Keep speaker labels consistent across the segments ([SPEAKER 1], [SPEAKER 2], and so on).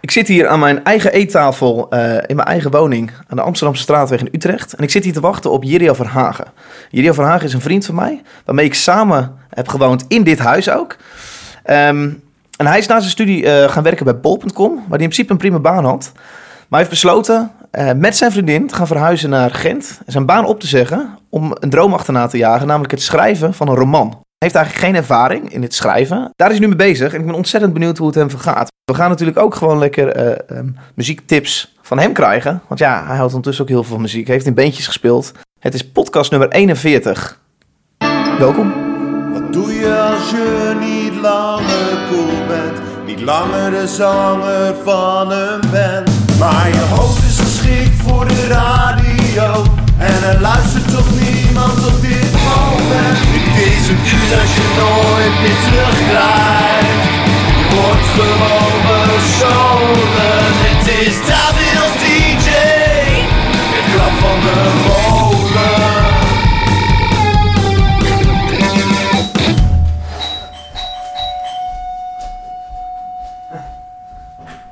[SPEAKER 1] Ik zit hier aan mijn eigen eettafel eh, in mijn eigen woning aan de Amsterdamse straatweg in Utrecht. En ik zit hier te wachten op Jiria Verhagen. Jiria Verhagen is een vriend van mij, waarmee ik samen heb gewoond in dit huis ook. Ehm, en hij is na zijn studie eh, gaan werken bij bol.com, waar hij in principe een prima baan had. Maar hij heeft besloten eh, met zijn vriendin te gaan verhuizen naar Gent. En zijn baan op te zeggen om een droom achterna te jagen, namelijk het schrijven van een roman. Hij heeft eigenlijk geen ervaring in het schrijven. Daar is hij nu mee bezig en ik ben ontzettend benieuwd hoe het hem vergaat. We gaan natuurlijk ook gewoon lekker eh, ehm, muziektips van hem krijgen. Want ja, hij houdt ondertussen ook heel veel van muziek. Hij heeft in bandjes gespeeld. Het is podcast nummer 41. Welkom.
[SPEAKER 2] Wat doe je als je niet langer cool bent? Niet langer de zanger van een band. Maar je hoofd is geschikt voor de radio. En er luistert toch niemand op dit moment. Dit is een uur dat je nooit meer terugkrijgt. Je wordt gewoon bestolen. Het is David als DJ. Het klap van de molen.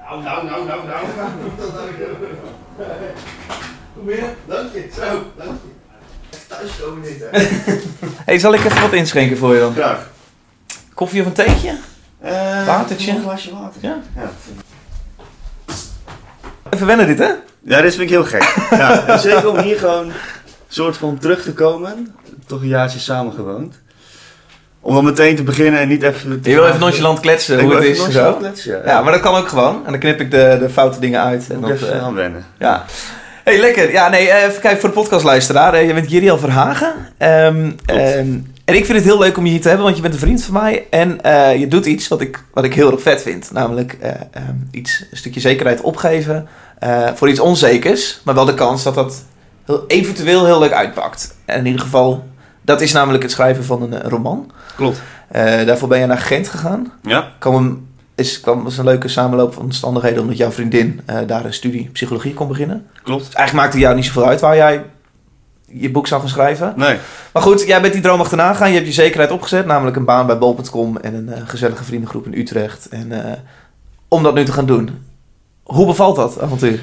[SPEAKER 2] Nou, nou, nou, nou, nou. Kom binnen. Dank je. Zo, dank je. Thuis komen niet, hè.
[SPEAKER 1] hey, zal ik even wat inschenken voor je dan?
[SPEAKER 2] Graag.
[SPEAKER 1] Koffie of een theetje?
[SPEAKER 2] Eh,
[SPEAKER 1] Watertje?
[SPEAKER 2] Een glasje water.
[SPEAKER 1] Ja.
[SPEAKER 2] Ja.
[SPEAKER 1] Even wennen dit, hè?
[SPEAKER 2] ja, dit vind ik heel gek. Ja. en Zeker om hier gewoon soort van terug te komen. Toch een jaartje samen gewoond. Om dan meteen te beginnen en niet even... te
[SPEAKER 1] Je wil even
[SPEAKER 2] vragen-
[SPEAKER 1] nonchalant kletsen
[SPEAKER 2] Ik
[SPEAKER 1] hoe
[SPEAKER 2] wil
[SPEAKER 1] het
[SPEAKER 2] even
[SPEAKER 1] is en zo.
[SPEAKER 2] nonchalant kletsen, Ja,
[SPEAKER 1] Ja, maar dat kan ook gewoon. En dan knip ik de, de foute dingen uit. En
[SPEAKER 2] Moet
[SPEAKER 1] dan,
[SPEAKER 2] ik even
[SPEAKER 1] eh,
[SPEAKER 2] aan wennen.
[SPEAKER 1] Ja. Hey, lekker. Ja, nee, eh, even kijken voor de podcastluisteraar. Eh, Je bent Jiriel Verhagen. Ehm, ehm, en ik vind het heel leuk om je hier te hebben, want je bent een vriend van mij. En eh, je doet iets wat ik, wat ik heel erg vet vind. Namelijk eh, ehm, iets, een stukje zekerheid opgeven eh, voor iets onzekers. Maar wel de kans dat dat heel, eventueel heel leuk uitpakt. En in ieder geval, dat is namelijk het schrijven van een, eh, roman.
[SPEAKER 2] Klopt.
[SPEAKER 1] Eh, daarvoor ben je naar Gent gegaan
[SPEAKER 2] Ja?
[SPEAKER 1] kwam een, is, kwam, was een leuke samenloop van omstandigheden omdat jouw vriendin eh, daar een studie psychologie kon beginnen.
[SPEAKER 2] Klopt.
[SPEAKER 1] Dus eigenlijk maakte jou niet zoveel uit waar jij je boek zou gaan schrijven.
[SPEAKER 2] Nee.
[SPEAKER 1] Maar goed, jij bent die droom achterna gegaan. Je hebt je zekerheid opgezet, namelijk een baan bij bol.com en een eh, gezellige vriendengroep in Utrecht. En eh, om dat nu te gaan doen. Hoe bevalt dat avontuur?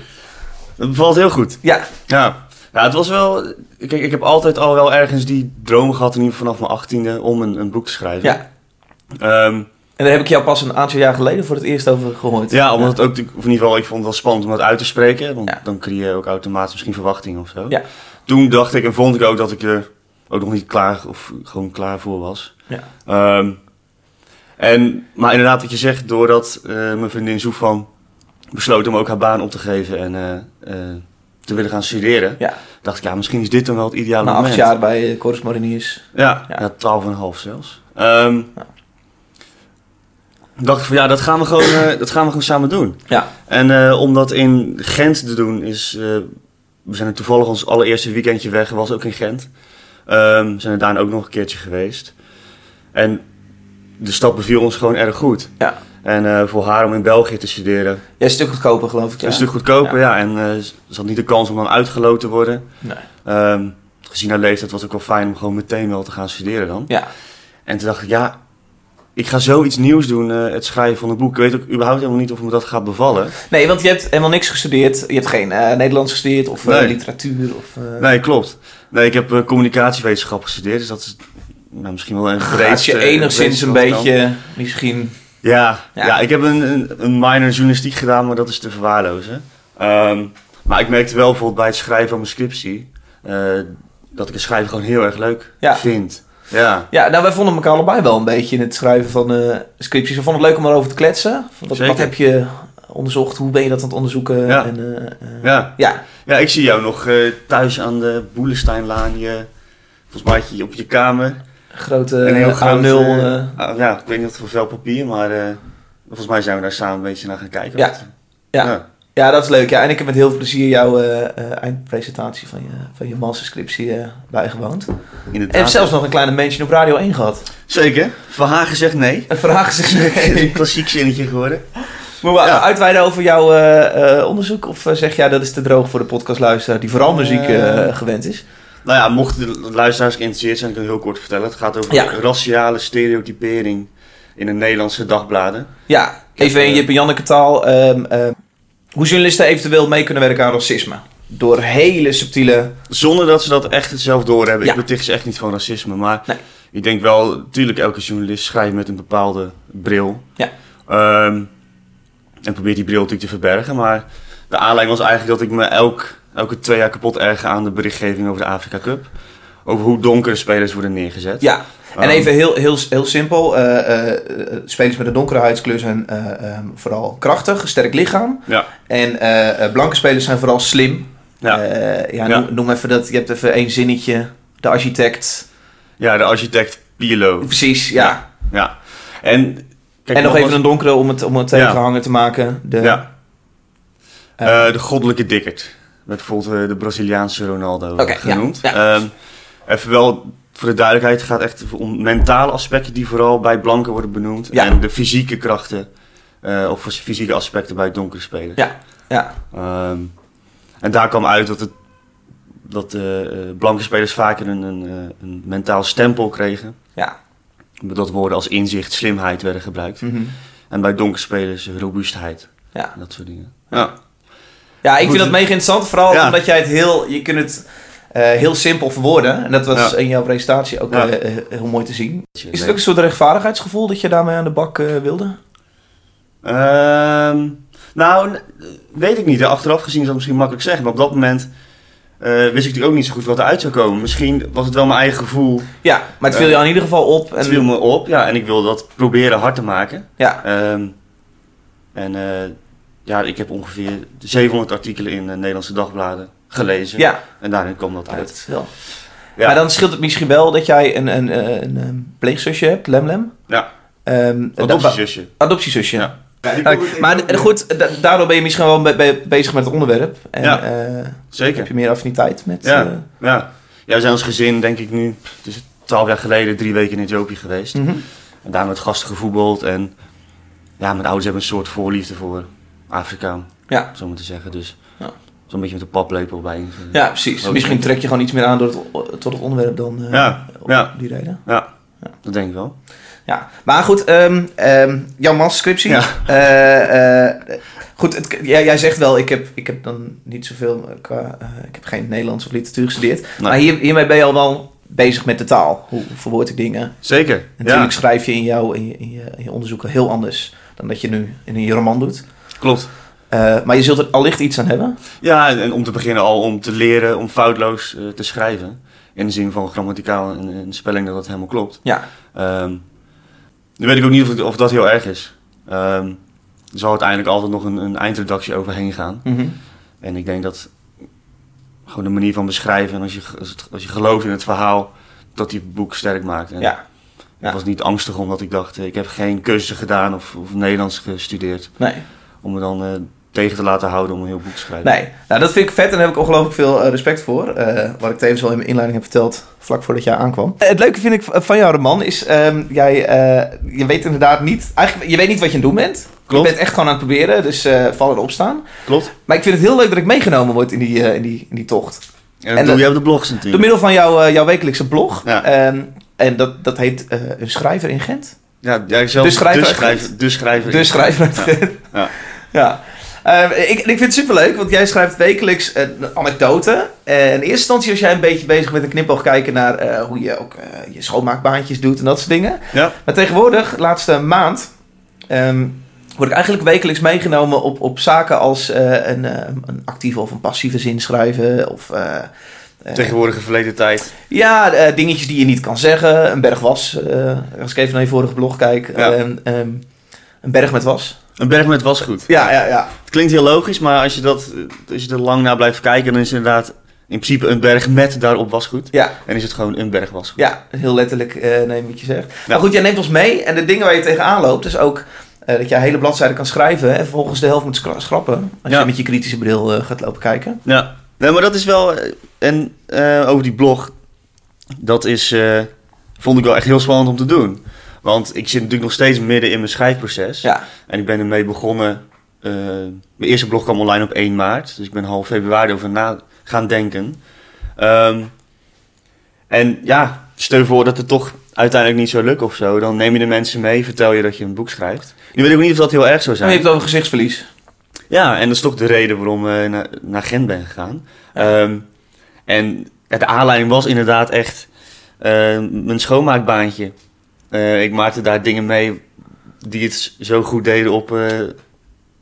[SPEAKER 2] Dat bevalt heel goed.
[SPEAKER 1] Ja,
[SPEAKER 2] Ja. ja, het was wel. Kijk, ik heb altijd al wel ergens die droom gehad, in ieder geval vanaf mijn achttiende, om een, een boek te schrijven.
[SPEAKER 1] ja.
[SPEAKER 2] Ehm,
[SPEAKER 1] En daar heb ik jou pas een aantal jaar geleden voor het eerst over gehoord.
[SPEAKER 2] ja omdat het ook, natuurlijk- of in ieder geval, ik vond het wel spannend om dat uit te spreken, want
[SPEAKER 1] Ja.
[SPEAKER 2] dan creëer je ook automatisch misschien verwachtingen of zo.
[SPEAKER 1] Ja.
[SPEAKER 2] Toen dacht ik en vond ik ook dat ik er ook nog niet klaar of gewoon klaar voor was.
[SPEAKER 1] Ja.
[SPEAKER 2] Ehm, en, maar inderdaad, wat je zegt, doordat eh, mijn vriendin Soefan besloot om ook haar baan op te geven en eh, eh, te willen gaan studeren,
[SPEAKER 1] Ja.
[SPEAKER 2] dacht ik, ja, misschien is dit dan wel het ideale
[SPEAKER 1] Na
[SPEAKER 2] moment.
[SPEAKER 1] acht jaar bij eh, Corus Mariniers.
[SPEAKER 2] Ja,
[SPEAKER 1] Ja.
[SPEAKER 2] ja. 12,5 zelfs. Ehm
[SPEAKER 1] Ja.
[SPEAKER 2] Dacht ik van ja, dat gaan we gewoon, eh, dat gaan we gewoon samen doen.
[SPEAKER 1] Ja.
[SPEAKER 2] En eh, om dat in Gent te doen is. eh, we zijn er toevallig ons allereerste weekendje weg, was ook in Gent. Ehm, zijn er daarna ook nog een keertje geweest. En de stad beviel ons gewoon erg goed.
[SPEAKER 1] Ja.
[SPEAKER 2] En eh, voor haar om in België te studeren,
[SPEAKER 1] Jij is een stuk goedkoper geloof ik. Ja.
[SPEAKER 2] een stuk goedkoper. Ja. en eh, ze had niet de kans om dan uitgeloot te worden.
[SPEAKER 1] Nee.
[SPEAKER 2] Ehm, gezien haar leeftijd was het ook wel fijn om gewoon meteen wel te gaan studeren dan.
[SPEAKER 1] Ja.
[SPEAKER 2] En toen dacht ik, ja, ik ga zoiets nieuws doen, eh, het schrijven van een boek. Ik weet ook überhaupt helemaal niet of me dat gaat bevallen.
[SPEAKER 1] Nee, want je hebt helemaal niks gestudeerd. Je hebt geen eh, Nederlands gestudeerd of eh,
[SPEAKER 2] Nee.
[SPEAKER 1] literatuur of... eh,
[SPEAKER 2] Nee, klopt. Nee, ik heb eh, communicatiewetenschap gestudeerd, dus dat is nou, misschien wel een
[SPEAKER 1] Als
[SPEAKER 2] breedste-
[SPEAKER 1] Ah, je enigszins
[SPEAKER 2] breedste
[SPEAKER 1] een
[SPEAKER 2] wat ik kan.
[SPEAKER 1] beetje misschien...
[SPEAKER 2] Ja,
[SPEAKER 1] Ja.
[SPEAKER 2] ja. ik heb een, een, een minor in journalistiek gedaan, maar dat is te verwaarlozen. Ehm, maar ik merkte wel bijvoorbeeld bij het schrijven van mijn scriptie, eh, dat ik het schrijven gewoon heel erg leuk
[SPEAKER 1] Ja.
[SPEAKER 2] vind. Ja,
[SPEAKER 1] Ja, nou, wij vonden elkaar allebei wel een beetje in het schrijven van eh, scripties. We vonden het leuk om erover te kletsen. Van Wat,
[SPEAKER 2] Zeker.
[SPEAKER 1] wat heb je onderzocht? Hoe ben je dat aan het onderzoeken?
[SPEAKER 2] Ja.
[SPEAKER 1] En, eh, eh,
[SPEAKER 2] ja.
[SPEAKER 1] ja.
[SPEAKER 2] Ja, ik zie jou nog eh, thuis aan de Boelesteinlaan. Je, volgens mij had je op je kamer
[SPEAKER 1] grote
[SPEAKER 2] een heel
[SPEAKER 1] eh,
[SPEAKER 2] groot...
[SPEAKER 1] A0...
[SPEAKER 2] eh,
[SPEAKER 1] eh,
[SPEAKER 2] ah, ja, ik weet niet of het veel papier, maar eh, volgens mij zijn we daar samen een beetje naar gaan kijken.
[SPEAKER 1] Ja, ja. ja, dat is leuk. Ja, en ik heb met heel veel plezier jouw eh, eh, eindpresentatie van je, van je masterscriptie eh, bijgewoond. En
[SPEAKER 2] inderdaad.
[SPEAKER 1] heb zelfs nog een kleine mention op Radio 1 gehad.
[SPEAKER 2] Zeker. Van Hagen zegt nee.
[SPEAKER 1] En vragen zich...
[SPEAKER 2] Dat is een klassiek zinnetje geworden.
[SPEAKER 1] Moeten we
[SPEAKER 2] Ja.
[SPEAKER 1] uitweiden over jouw eh, eh, onderzoek? Of eh, zeg jij dat is te droog voor de podcastluisteraar die vooral muziek eh,
[SPEAKER 2] Eh,
[SPEAKER 1] gewend is?
[SPEAKER 2] Nou ja, mochten de luisteraars geïnteresseerd zijn, kan ik het heel kort vertellen. Het gaat over
[SPEAKER 1] Ja.
[SPEAKER 2] raciale stereotypering in de Nederlandse dagbladen.
[SPEAKER 1] Ja, Even
[SPEAKER 2] eh,
[SPEAKER 1] in Jip en Janneke taal. ehm, ehm, hoe journalisten eventueel mee kunnen werken aan racisme. Door hele subtiele...
[SPEAKER 2] Zonder dat ze dat echt zelf doorhebben.
[SPEAKER 1] Ja.
[SPEAKER 2] Ik beticht ze echt niet van racisme. Maar
[SPEAKER 1] Nee.
[SPEAKER 2] ik denk wel, natuurlijk elke journalist schrijft met een bepaalde bril.
[SPEAKER 1] Ja.
[SPEAKER 2] Ehm, en probeert die bril natuurlijk te verbergen. Maar de aanleiding was eigenlijk dat ik me elk, elke twee jaar kapot erger aan de berichtgeving over de Afrika Cup. Over hoe donkere spelers worden neergezet.
[SPEAKER 1] Ja, en
[SPEAKER 2] Ehm,
[SPEAKER 1] even heel, heel, heel simpel. eh, eh, eh, spelers met een donkere huidskleur zijn eh, ehm, vooral krachtig, sterk lichaam.
[SPEAKER 2] Ja.
[SPEAKER 1] En eh, eh, blanke spelers zijn vooral slim.
[SPEAKER 2] Ja.
[SPEAKER 1] Eh, ja,
[SPEAKER 2] Ja.
[SPEAKER 1] Noem, noem even dat. Je hebt even één zinnetje. De architect.
[SPEAKER 2] ja, de architect Pilo.
[SPEAKER 1] Precies, ja.
[SPEAKER 2] Ja. Ja. En, kijk,
[SPEAKER 1] en nog even
[SPEAKER 2] nogmaals,
[SPEAKER 1] een donkere om het, om het
[SPEAKER 2] Ja.
[SPEAKER 1] tegenhanger te maken. De,
[SPEAKER 2] Ja.
[SPEAKER 1] eh,
[SPEAKER 2] Eh, de goddelijke Dickert. Werd bijvoorbeeld eh, de Braziliaanse Ronaldo eh,
[SPEAKER 1] Oké, ja,
[SPEAKER 2] genoemd.
[SPEAKER 1] ja.
[SPEAKER 2] Ehm, even wel voor de duidelijkheid: het gaat echt om mentale aspecten die vooral bij blanken worden benoemd.
[SPEAKER 1] Ja.
[SPEAKER 2] En de fysieke krachten. eh, of fysieke aspecten bij donkere spelers.
[SPEAKER 1] Ja, ja.
[SPEAKER 2] Ehm, en daar kwam uit dat, het, dat eh, eh, blanke spelers vaker een, een, eh, een mentaal stempel kregen.
[SPEAKER 1] Ja.
[SPEAKER 2] Dat woorden als inzicht, slimheid werden gebruikt.
[SPEAKER 1] mhm.
[SPEAKER 2] En bij donkere spelers eh, robuustheid.
[SPEAKER 1] Ja.
[SPEAKER 2] Dat soort dingen.
[SPEAKER 1] Ja, ik
[SPEAKER 2] Goed.
[SPEAKER 1] vind dat mega interessant. Vooral
[SPEAKER 2] Ja.
[SPEAKER 1] omdat jij het heel... Je kunt het eh, heel simpel verwoorden. En dat was
[SPEAKER 2] Ja.
[SPEAKER 1] in jouw presentatie ook
[SPEAKER 2] Ja.
[SPEAKER 1] eh, eh, heel mooi te zien. Is het ook een soort rechtvaardigheidsgevoel dat je daarmee aan de bak eh, wilde?
[SPEAKER 2] Ehm, nou, n- weet ik niet. hè. Achteraf gezien is dat misschien makkelijk zeggen. Maar op dat moment eh, wist ik natuurlijk ook niet zo goed wat eruit zou komen. Misschien was het wel mijn eigen gevoel.
[SPEAKER 1] Ja, maar het viel
[SPEAKER 2] Eh,
[SPEAKER 1] je in ieder geval op.
[SPEAKER 2] Het viel
[SPEAKER 1] En,
[SPEAKER 2] me op. Ja, en ik wilde dat proberen hard te maken.
[SPEAKER 1] ja,
[SPEAKER 2] Ehm, en eh, ja, ik heb ongeveer 700 artikelen in eh, Nederlandse dagbladen gelezen.
[SPEAKER 1] ja.
[SPEAKER 2] En daarin kwam dat uit.
[SPEAKER 1] Dat wel.
[SPEAKER 2] Ja.
[SPEAKER 1] Maar dan scheelt het misschien wel dat jij een, een, een, een, ehm, pleegzusje hebt, Lemlem.
[SPEAKER 2] Ja.
[SPEAKER 1] Ehm, dat-
[SPEAKER 2] Adoptiezusje.
[SPEAKER 1] Adoptiezusje.
[SPEAKER 2] Ja.
[SPEAKER 1] Ja, maar eh, goed, da- daardoor ben je misschien wel be- be- bezig met het onderwerp. En
[SPEAKER 2] Ja.
[SPEAKER 1] eh, heb
[SPEAKER 2] Zeker.
[SPEAKER 1] je meer affiniteit met...
[SPEAKER 2] Ja.
[SPEAKER 1] eh,
[SPEAKER 2] Ja. ja, we zijn als gezin denk ik nu, het is 12 jaar geleden, drie weken in Ethiopië geweest.
[SPEAKER 1] mhm.
[SPEAKER 2] En daar met gasten gevoetbald. En ja, mijn ouders hebben een soort voorliefde voor Afrika, om
[SPEAKER 1] Ja.
[SPEAKER 2] zo maar te zeggen. Dus
[SPEAKER 1] Ja.
[SPEAKER 2] zo'n beetje met een paplepel bij.
[SPEAKER 1] Ja, precies.
[SPEAKER 2] Ook
[SPEAKER 1] Misschien
[SPEAKER 2] niet.
[SPEAKER 1] trek je gewoon iets meer aan door het, tot het onderwerp dan eh,
[SPEAKER 2] Ja,
[SPEAKER 1] om
[SPEAKER 2] ja.
[SPEAKER 1] die reden.
[SPEAKER 2] Dat denk ik wel.
[SPEAKER 1] Ja, maar goed, ehm ehm jouw masterscriptie.
[SPEAKER 2] Ja.
[SPEAKER 1] Eh, eh, goed, het, jij, jij zegt wel, ik heb, ik heb dan niet zoveel eh, qua... eh, ik heb geen Nederlands of literatuur gestudeerd.
[SPEAKER 2] Nou,
[SPEAKER 1] Maar hier, hiermee ben je al wel bezig met de taal. Hoe verwoord ik dingen? En
[SPEAKER 2] Zeker. Ja,
[SPEAKER 1] natuurlijk schrijf je in, jou, in, je, in, je, in je onderzoeken heel anders dan dat je nu in je roman doet.
[SPEAKER 2] klopt.
[SPEAKER 1] Eh, maar je zult er allicht iets aan hebben.
[SPEAKER 2] Ja, en en om te beginnen al om te leren om foutloos eh, te schrijven. In de zin van grammaticaal en, en spelling dat dat helemaal klopt.
[SPEAKER 1] Ja.
[SPEAKER 2] Ehm, nu weet ik ook niet of, het- of dat heel erg is. Ehm, er zal uiteindelijk altijd nog een, een eindredactie overheen gaan.
[SPEAKER 1] Mhm.
[SPEAKER 2] En ik denk dat gewoon de manier van beschrijven, en als je, als, het- als je gelooft in het verhaal, dat die het boek sterk maakt. En
[SPEAKER 1] Ja. ja.
[SPEAKER 2] Ik was niet angstig omdat ik dacht, eh, ik heb geen cursus gedaan of, of Nederlands gestudeerd.
[SPEAKER 1] Nee.
[SPEAKER 2] Om me dan eh, tegen te laten houden om een heel boek te schrijven.
[SPEAKER 1] Nee, nou dat vind ik vet en daar heb ik ongelooflijk veel eh, respect voor. Eh, wat ik tevens al in mijn inleiding heb verteld, vlak voordat jij aankwam. Eh, Het leuke vind ik v- van jou, man, is ehm, jij, eh, je weet inderdaad niet, eigenlijk, je weet niet wat je aan het doen bent.
[SPEAKER 2] Klopt.
[SPEAKER 1] Je bent echt gewoon aan het proberen, dus eh, vallen en opstaan.
[SPEAKER 2] Klopt.
[SPEAKER 1] Maar ik vind het heel leuk dat ik meegenomen word in die, eh, in die, in die tocht.
[SPEAKER 2] En dat
[SPEAKER 1] En
[SPEAKER 2] doe
[SPEAKER 1] dat-
[SPEAKER 2] jij op de blogs
[SPEAKER 1] Door
[SPEAKER 2] natuurlijk.
[SPEAKER 1] middel van jouw, eh, jouw wekelijkse blog.
[SPEAKER 2] Ja.
[SPEAKER 1] Ehm, en dat, dat heet eh, Een Schrijver in Gent.
[SPEAKER 2] Ja, jij zelf,
[SPEAKER 1] De schrijver
[SPEAKER 2] de
[SPEAKER 1] uit
[SPEAKER 2] schrijver. De schrijver.
[SPEAKER 1] De schrijver uit
[SPEAKER 2] Ja.
[SPEAKER 1] Gent.
[SPEAKER 2] Ja.
[SPEAKER 1] Ja. Eh, ik, ik vind het superleuk, want jij schrijft wekelijks eh, een anekdote. En in eerste instantie was jij een beetje bezig met een knipoog kijken naar eh, hoe je ook eh, je schoonmaakbaantjes doet en dat soort dingen.
[SPEAKER 2] Ja.
[SPEAKER 1] Maar tegenwoordig, de laatste maand, ehm, word ik eigenlijk wekelijks meegenomen op, op zaken als eh, een, eh, een actieve of een passieve zin schrijven. Of, eh, eh,
[SPEAKER 2] Tegenwoordige verleden tijd.
[SPEAKER 1] ja, eh, dingetjes die je niet kan zeggen. Een berg was. eh, als ik even naar je vorige blog kijk.
[SPEAKER 2] Ja.
[SPEAKER 1] ehm, ehm, een berg met was.
[SPEAKER 2] Een berg met wasgoed.
[SPEAKER 1] Ja, ja, ja.
[SPEAKER 2] Het klinkt heel logisch, maar als je, dat, als je er lang naar blijft kijken, dan is het inderdaad in principe een berg met daarop wasgoed.
[SPEAKER 1] Ja,
[SPEAKER 2] En is het gewoon een berg wasgoed.
[SPEAKER 1] ja heel letterlijk eh neem wat je zegt. Maar
[SPEAKER 2] Ja.
[SPEAKER 1] goed, jij neemt ons mee. En de dingen waar je tegenaan loopt is ook eh, dat jij hele bladzijden kan schrijven. En vervolgens de helft moet schra- schrappen. Als
[SPEAKER 2] Ja.
[SPEAKER 1] je met je kritische bril eh, gaat lopen kijken.
[SPEAKER 2] Ja, nee, maar dat is wel. eh, En eh, over die blog, dat is. eh, vond ik wel echt heel spannend om te doen. Want ik zit natuurlijk nog steeds midden in mijn schrijfproces.
[SPEAKER 1] Ja,
[SPEAKER 2] En ik ben ermee begonnen. eh, mijn eerste blog kwam online op 1 maart. Dus ik ben half februari over na gaan denken. Ehm, en ja, stel je voor dat er toch uiteindelijk niet zou lukken of zo, dan neem je de mensen mee, vertel je dat je een boek schrijft. Nu weet ik ook niet of dat heel erg zou
[SPEAKER 1] En Oh, je
[SPEAKER 2] zijn.
[SPEAKER 1] hebt het over gezichtsverlies.
[SPEAKER 2] Ja, en dat is toch de reden waarom ik naar, naar Gent ben gegaan. Ehm, en de aanleiding was inderdaad echt ehm, mijn schoonmaakbaantje. Eh, ik maakte daar dingen mee die het s- zo goed deden op, eh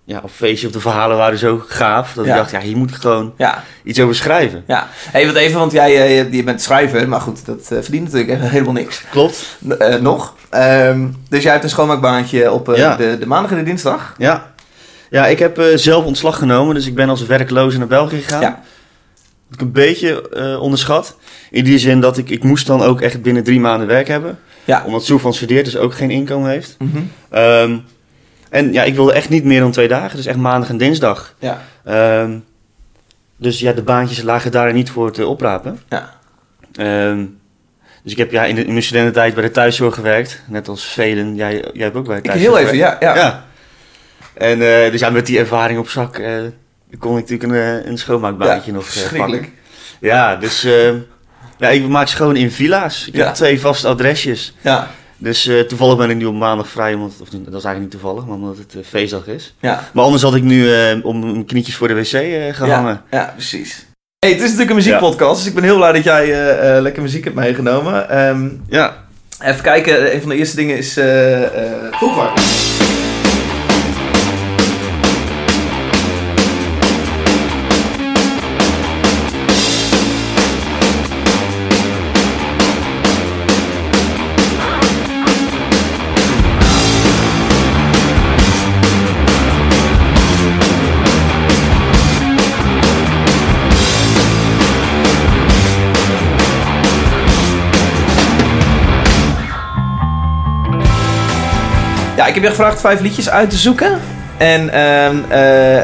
[SPEAKER 2] ja, op feestje. Of de verhalen waren zo gaaf dat
[SPEAKER 1] Ja.
[SPEAKER 2] ik dacht, ja, hier moet ik gewoon
[SPEAKER 1] Ja,
[SPEAKER 2] iets over schrijven.
[SPEAKER 1] ja. Hey, wat even, want jij eh, je bent schrijver, maar goed, dat eh, verdient natuurlijk helemaal niks.
[SPEAKER 2] Klopt.
[SPEAKER 1] N- eh, nog. Ehm, dus jij hebt een schoonmaakbaantje op eh,
[SPEAKER 2] Ja.
[SPEAKER 1] de, de maandag en de dinsdag.
[SPEAKER 2] Ja. Ja, ik heb eh, zelf ontslag genomen, dus ik ben als werkloze naar België gegaan.
[SPEAKER 1] Ja.
[SPEAKER 2] Dat ik een beetje eh, onderschat. In die zin dat ik, ik moest dan ook echt binnen drie maanden werk hebben.
[SPEAKER 1] Ja.
[SPEAKER 2] Omdat Soefan studeert, dus ook geen inkomen heeft.
[SPEAKER 1] Mhm.
[SPEAKER 2] Ehm, en ja, ik wilde echt niet meer dan twee dagen, dus echt maandag en dinsdag.
[SPEAKER 1] ja.
[SPEAKER 2] Ehm, dus ja, de baantjes lagen daar niet voor te oprapen.
[SPEAKER 1] Ja.
[SPEAKER 2] Ehm, dus ik heb ja, in, de, in mijn studententijd bij de thuiszorg gewerkt. Net als velen. Jij, jij hebt ook bij de
[SPEAKER 1] Ik
[SPEAKER 2] thuiszorg
[SPEAKER 1] heel even, ja. ja.
[SPEAKER 2] ja. En eh, dus ja, met die ervaring op zak eh, kon ik natuurlijk een, eh, een schoonmaakbaantje
[SPEAKER 1] Ja,
[SPEAKER 2] nog eh,
[SPEAKER 1] verschrikkelijk.
[SPEAKER 2] pakken. Ja, dus eh, ja, ik maak schoon in villa's. Ik
[SPEAKER 1] Ja.
[SPEAKER 2] heb twee vaste adresjes.
[SPEAKER 1] Ja, dus
[SPEAKER 2] Dus eh, toevallig ben ik nu op maandag vrij, omdat, of dat is eigenlijk niet toevallig, maar omdat het eh, feestdag is.
[SPEAKER 1] ja.
[SPEAKER 2] Maar anders had ik nu eh, om mijn knietjes voor de wc eh, gehangen.
[SPEAKER 1] Ja, ja, precies. Hey, het is natuurlijk een muziekpodcast, dus ik ben heel blij dat jij eh, eh, lekker muziek hebt meegenomen. Ehm,
[SPEAKER 2] Ja.
[SPEAKER 1] even kijken, een van de eerste dingen is... eh eh Toevar. Ja, ik heb je gevraagd vijf liedjes uit te zoeken. En ehm eh,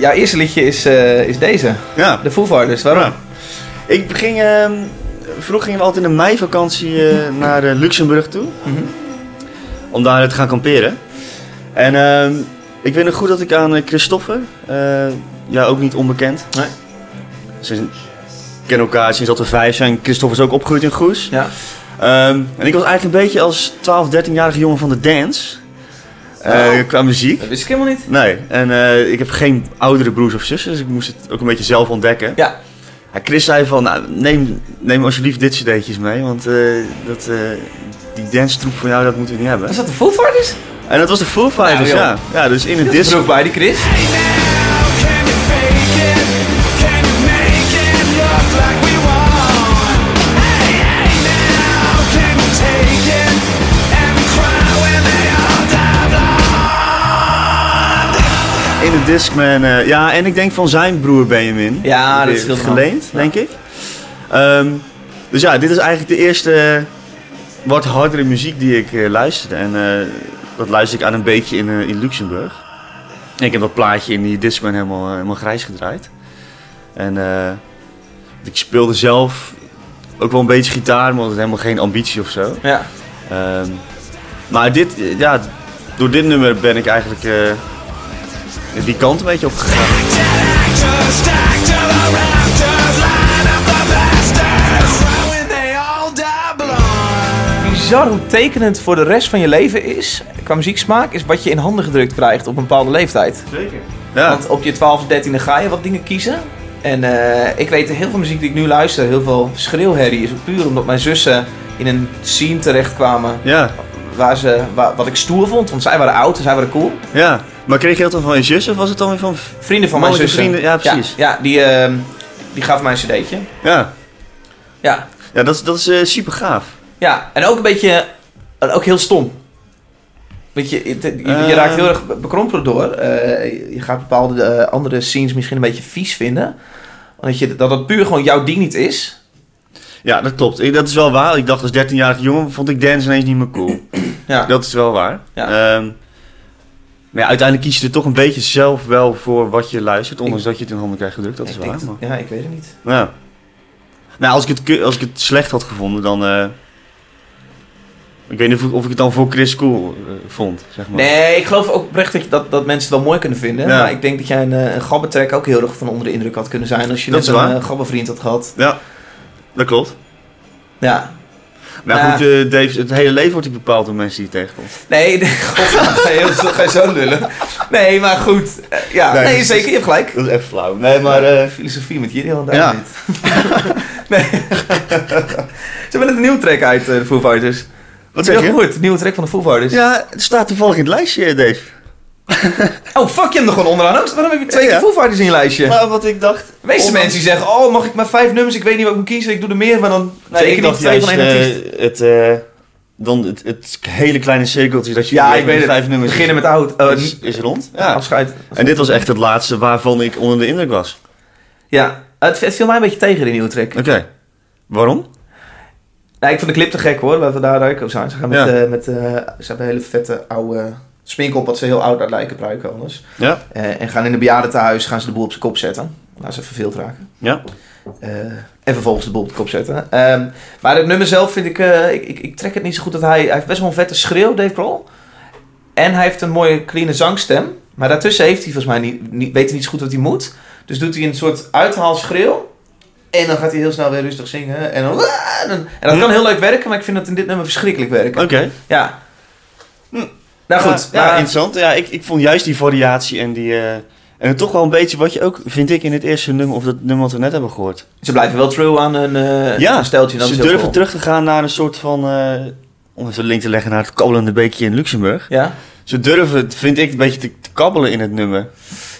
[SPEAKER 1] jouw eerste liedje is, eh, is deze.
[SPEAKER 2] ja.
[SPEAKER 1] De Foo Fighters, waarom?
[SPEAKER 2] Ja. Ik ging, ehm, vroeger gingen we altijd in de meivakantie eh, naar eh, Luxemburg toe.
[SPEAKER 1] Mhm.
[SPEAKER 2] Om daar te gaan kamperen. En ehm, ik weet nog goed dat ik aan eh, Christoffer, eh, ja ook niet onbekend.
[SPEAKER 1] Nee.
[SPEAKER 2] Ze kennen elkaar sinds dat we vijf zijn. Christoffer is ook opgegroeid in Goes.
[SPEAKER 1] Ja.
[SPEAKER 2] Ehm, en ik was eigenlijk een beetje als 12, 13-jarige jongen van de dance. Eh,
[SPEAKER 1] Oh.
[SPEAKER 2] Qua muziek.
[SPEAKER 1] Dat wist ik helemaal niet.
[SPEAKER 2] Nee, en eh, ik heb geen oudere broers of zussen, dus ik moest het ook een beetje zelf ontdekken.
[SPEAKER 1] Ja.
[SPEAKER 2] Ja, Chris zei van, nou, neem, neem alsjeblieft dit cd'tjes mee, want eh, dat, eh, die dance troep van jou, dat moeten we niet hebben.
[SPEAKER 1] Was dat de Foo Fighters?
[SPEAKER 2] En dat was de Foo Fighters,
[SPEAKER 1] Nou,
[SPEAKER 2] ja.
[SPEAKER 1] joh.
[SPEAKER 2] Ja, dus in het
[SPEAKER 1] Dit is
[SPEAKER 2] disc...
[SPEAKER 1] er ook bij, die Chris.
[SPEAKER 2] In de Discman, eh, ja, en ik denk van zijn broer Benjamin.
[SPEAKER 1] Ja,
[SPEAKER 2] Die
[SPEAKER 1] dat scheelt wel.
[SPEAKER 2] Geleend, denk ik. Ehm, dus ja, dit is eigenlijk de eerste eh, wat hardere muziek die ik eh, luisterde. En eh, dat luister ik aan een beetje in, eh, in Luxemburg. En ik heb dat plaatje in die Discman helemaal, eh, helemaal grijs gedraaid. En eh, ik speelde zelf ook wel een beetje gitaar, maar had helemaal geen ambitie of zo.
[SPEAKER 1] Ja.
[SPEAKER 2] Ehm, maar dit, eh, ja, door dit nummer ben ik eigenlijk eh, die kant een beetje opgegaan.
[SPEAKER 1] Bizar hoe tekenend voor de rest van je leven is, qua muzieksmaak, is wat je in handen gedrukt krijgt op een bepaalde leeftijd.
[SPEAKER 2] Zeker. Ja,
[SPEAKER 1] Want op je 12 of 13 ga je wat dingen kiezen. En eh, ik weet heel veel muziek die ik nu luister, heel veel schreeuwherrie, is ook puur omdat mijn zussen in een scene terechtkwamen
[SPEAKER 2] ja,
[SPEAKER 1] waar ze, wa- wat ik stoer vond, want zij waren oud en zij waren cool.
[SPEAKER 2] ja. Maar kreeg je dat dan van je zus of was het dan weer van...
[SPEAKER 1] Vrienden van mijn
[SPEAKER 2] Mannelijke
[SPEAKER 1] zussen.
[SPEAKER 2] vrienden, ja, precies.
[SPEAKER 1] Ja, ja, die, ehm die gaven mij een cd'tje.
[SPEAKER 2] Ja,
[SPEAKER 1] Ja.
[SPEAKER 2] ja dat, is- dat is eh, super gaaf.
[SPEAKER 1] ja, en ook een beetje, en ook heel stom. Want je, het- je, je
[SPEAKER 2] Eh.
[SPEAKER 1] raakt heel erg be- bekrompen door. Eh, je gaat bepaalde eh, andere scenes misschien een beetje vies vinden. Omdat je, dat het puur gewoon jouw ding niet is.
[SPEAKER 2] Ja, dat klopt. Ik- dat is wel waar. Ik dacht als 13-jarige jongen vond ik dance ineens niet meer cool.
[SPEAKER 1] Ja,
[SPEAKER 2] Dat is wel waar.
[SPEAKER 1] Ja.
[SPEAKER 2] Ehm, maar ja, uiteindelijk kies je er toch een beetje zelf wel voor wat je luistert. Ondanks dat je het in handen krijgt gedrukt. Dat is
[SPEAKER 1] ik
[SPEAKER 2] waar.
[SPEAKER 1] denk het-
[SPEAKER 2] maar-
[SPEAKER 1] ja, ik weet het niet.
[SPEAKER 2] Ja. Nou, als ik het, ke- als ik het slecht had gevonden, dan... eh, ik weet niet of ik, of ik het dan voor Chris cool eh, vond, zeg maar.
[SPEAKER 1] Nee, ik geloof ook oprecht dat, je- dat, dat mensen het wel mooi kunnen vinden.
[SPEAKER 2] Ja.
[SPEAKER 1] Maar ik denk dat jij een, eh, een gabbetrek ook heel erg van onder de indruk had kunnen zijn. Als je
[SPEAKER 2] Dat
[SPEAKER 1] net eh,
[SPEAKER 2] is
[SPEAKER 1] een
[SPEAKER 2] waar.
[SPEAKER 1] eh, gabbevriend had gehad.
[SPEAKER 2] Dat klopt.
[SPEAKER 1] Ja,
[SPEAKER 2] Nou
[SPEAKER 1] Ja.
[SPEAKER 2] goed, eh, Dave, het hele leven wordt natuurlijk bepaald door mensen die je tegenkomt.
[SPEAKER 1] Nee, nee, god, nee, dat is toch geen zo lullen. Nee, maar goed. eh, ja,
[SPEAKER 2] Nee,
[SPEAKER 1] nee,
[SPEAKER 2] dat is-
[SPEAKER 1] zeker, je hebt gelijk.
[SPEAKER 2] Dat is echt flauw. Nee, maar... eh,
[SPEAKER 1] Filosofie met Jiri al daar
[SPEAKER 2] Ja.
[SPEAKER 1] niet. nee. Ze hebben net een nieuwe track uit, eh, de Foo Fighters.
[SPEAKER 2] wat
[SPEAKER 1] Heb
[SPEAKER 2] zeg
[SPEAKER 1] je
[SPEAKER 2] je?
[SPEAKER 1] al gehoord? Nieuwe track van de Foo Fighters.
[SPEAKER 2] Ja, het staat toevallig in het lijstje, eh, Dave.
[SPEAKER 1] Oh, fuck je hem er gewoon onderaan ook. Waarom heb je twee
[SPEAKER 2] Ja.
[SPEAKER 1] keer Foo Fighters in je lijstje?
[SPEAKER 2] Maar wat ik dacht...
[SPEAKER 1] De meeste
[SPEAKER 2] ondanks-
[SPEAKER 1] mensen die zeggen, oh, mag ik maar vijf nummers? Ik weet niet wat ik moet kiezen, ik doe er meer. Maar dan
[SPEAKER 2] Nee,
[SPEAKER 1] zeker
[SPEAKER 2] ik
[SPEAKER 1] niet
[SPEAKER 2] dacht
[SPEAKER 1] twee
[SPEAKER 2] juist,
[SPEAKER 1] van één artiest.
[SPEAKER 2] eh, het, eh, dan het, het hele kleine cirkeltje dat je...
[SPEAKER 1] ja,
[SPEAKER 2] met
[SPEAKER 1] ik weet het.
[SPEAKER 2] Vijf nummers
[SPEAKER 1] Beginnen met oud. eh,
[SPEAKER 2] is, is rond.
[SPEAKER 1] ja.
[SPEAKER 2] dus- Ja.
[SPEAKER 1] Afscheid.
[SPEAKER 2] En dit was echt het laatste waarvan ik onder de indruk was.
[SPEAKER 1] Ja, het, het viel mij een beetje tegen, die nieuwe track.
[SPEAKER 2] Oké. Waarom?
[SPEAKER 1] Ja, ik vond de clip te gek hoor, laten we daar duidelijk over zijn. Ze, gaan met,
[SPEAKER 2] Ja.
[SPEAKER 1] eh, met, eh, ze hebben hele vette oude smink op, wat ze heel oud uit lijken gebruiken anders.
[SPEAKER 2] Ja.
[SPEAKER 1] Eh, en gaan in een bejaardentehuis gaan ze de boel op zijn kop zetten. Laten ze verveeld raken.
[SPEAKER 2] Ja.
[SPEAKER 1] Eh, en vervolgens de boel op de kop zetten. Ehm, maar het nummer zelf vind ik, eh, ik, ik, ik trek het niet zo goed. Dat hij, hij heeft best wel een vette schreeuw, Dave Grohl. En hij heeft een mooie, clean zangstem. Maar daartussen heeft hij volgens mij niet, niet, weet hij niet zo goed wat hij moet. Dus doet hij een soort uithaalschreeuw. En dan gaat hij heel snel weer rustig zingen. En, dan, en, dan- en dat kan heel leuk werken, maar ik vind dat in dit nummer verschrikkelijk werken.
[SPEAKER 2] Oké.
[SPEAKER 1] Ja.
[SPEAKER 2] Hm.
[SPEAKER 1] Nou goed.
[SPEAKER 2] Ja, ja,
[SPEAKER 1] maar-
[SPEAKER 2] interessant. Ja, ik, ik vond juist die variatie en die... eh, en toch wel een beetje wat je ook, vind ik, in het eerste nummer... Of dat nummer wat we net hebben gehoord.
[SPEAKER 1] ze blijven wel true aan een, eh
[SPEAKER 2] Ja,
[SPEAKER 1] een steltje. Dat
[SPEAKER 2] Ze
[SPEAKER 1] is heel
[SPEAKER 2] durven
[SPEAKER 1] cool.
[SPEAKER 2] terug te gaan naar een soort van. eh, om even een link te leggen naar het kabbelende beekje in Luxemburg.
[SPEAKER 1] Ja,
[SPEAKER 2] Ze durven, vind ik, een beetje te, te kabbelen in het nummer.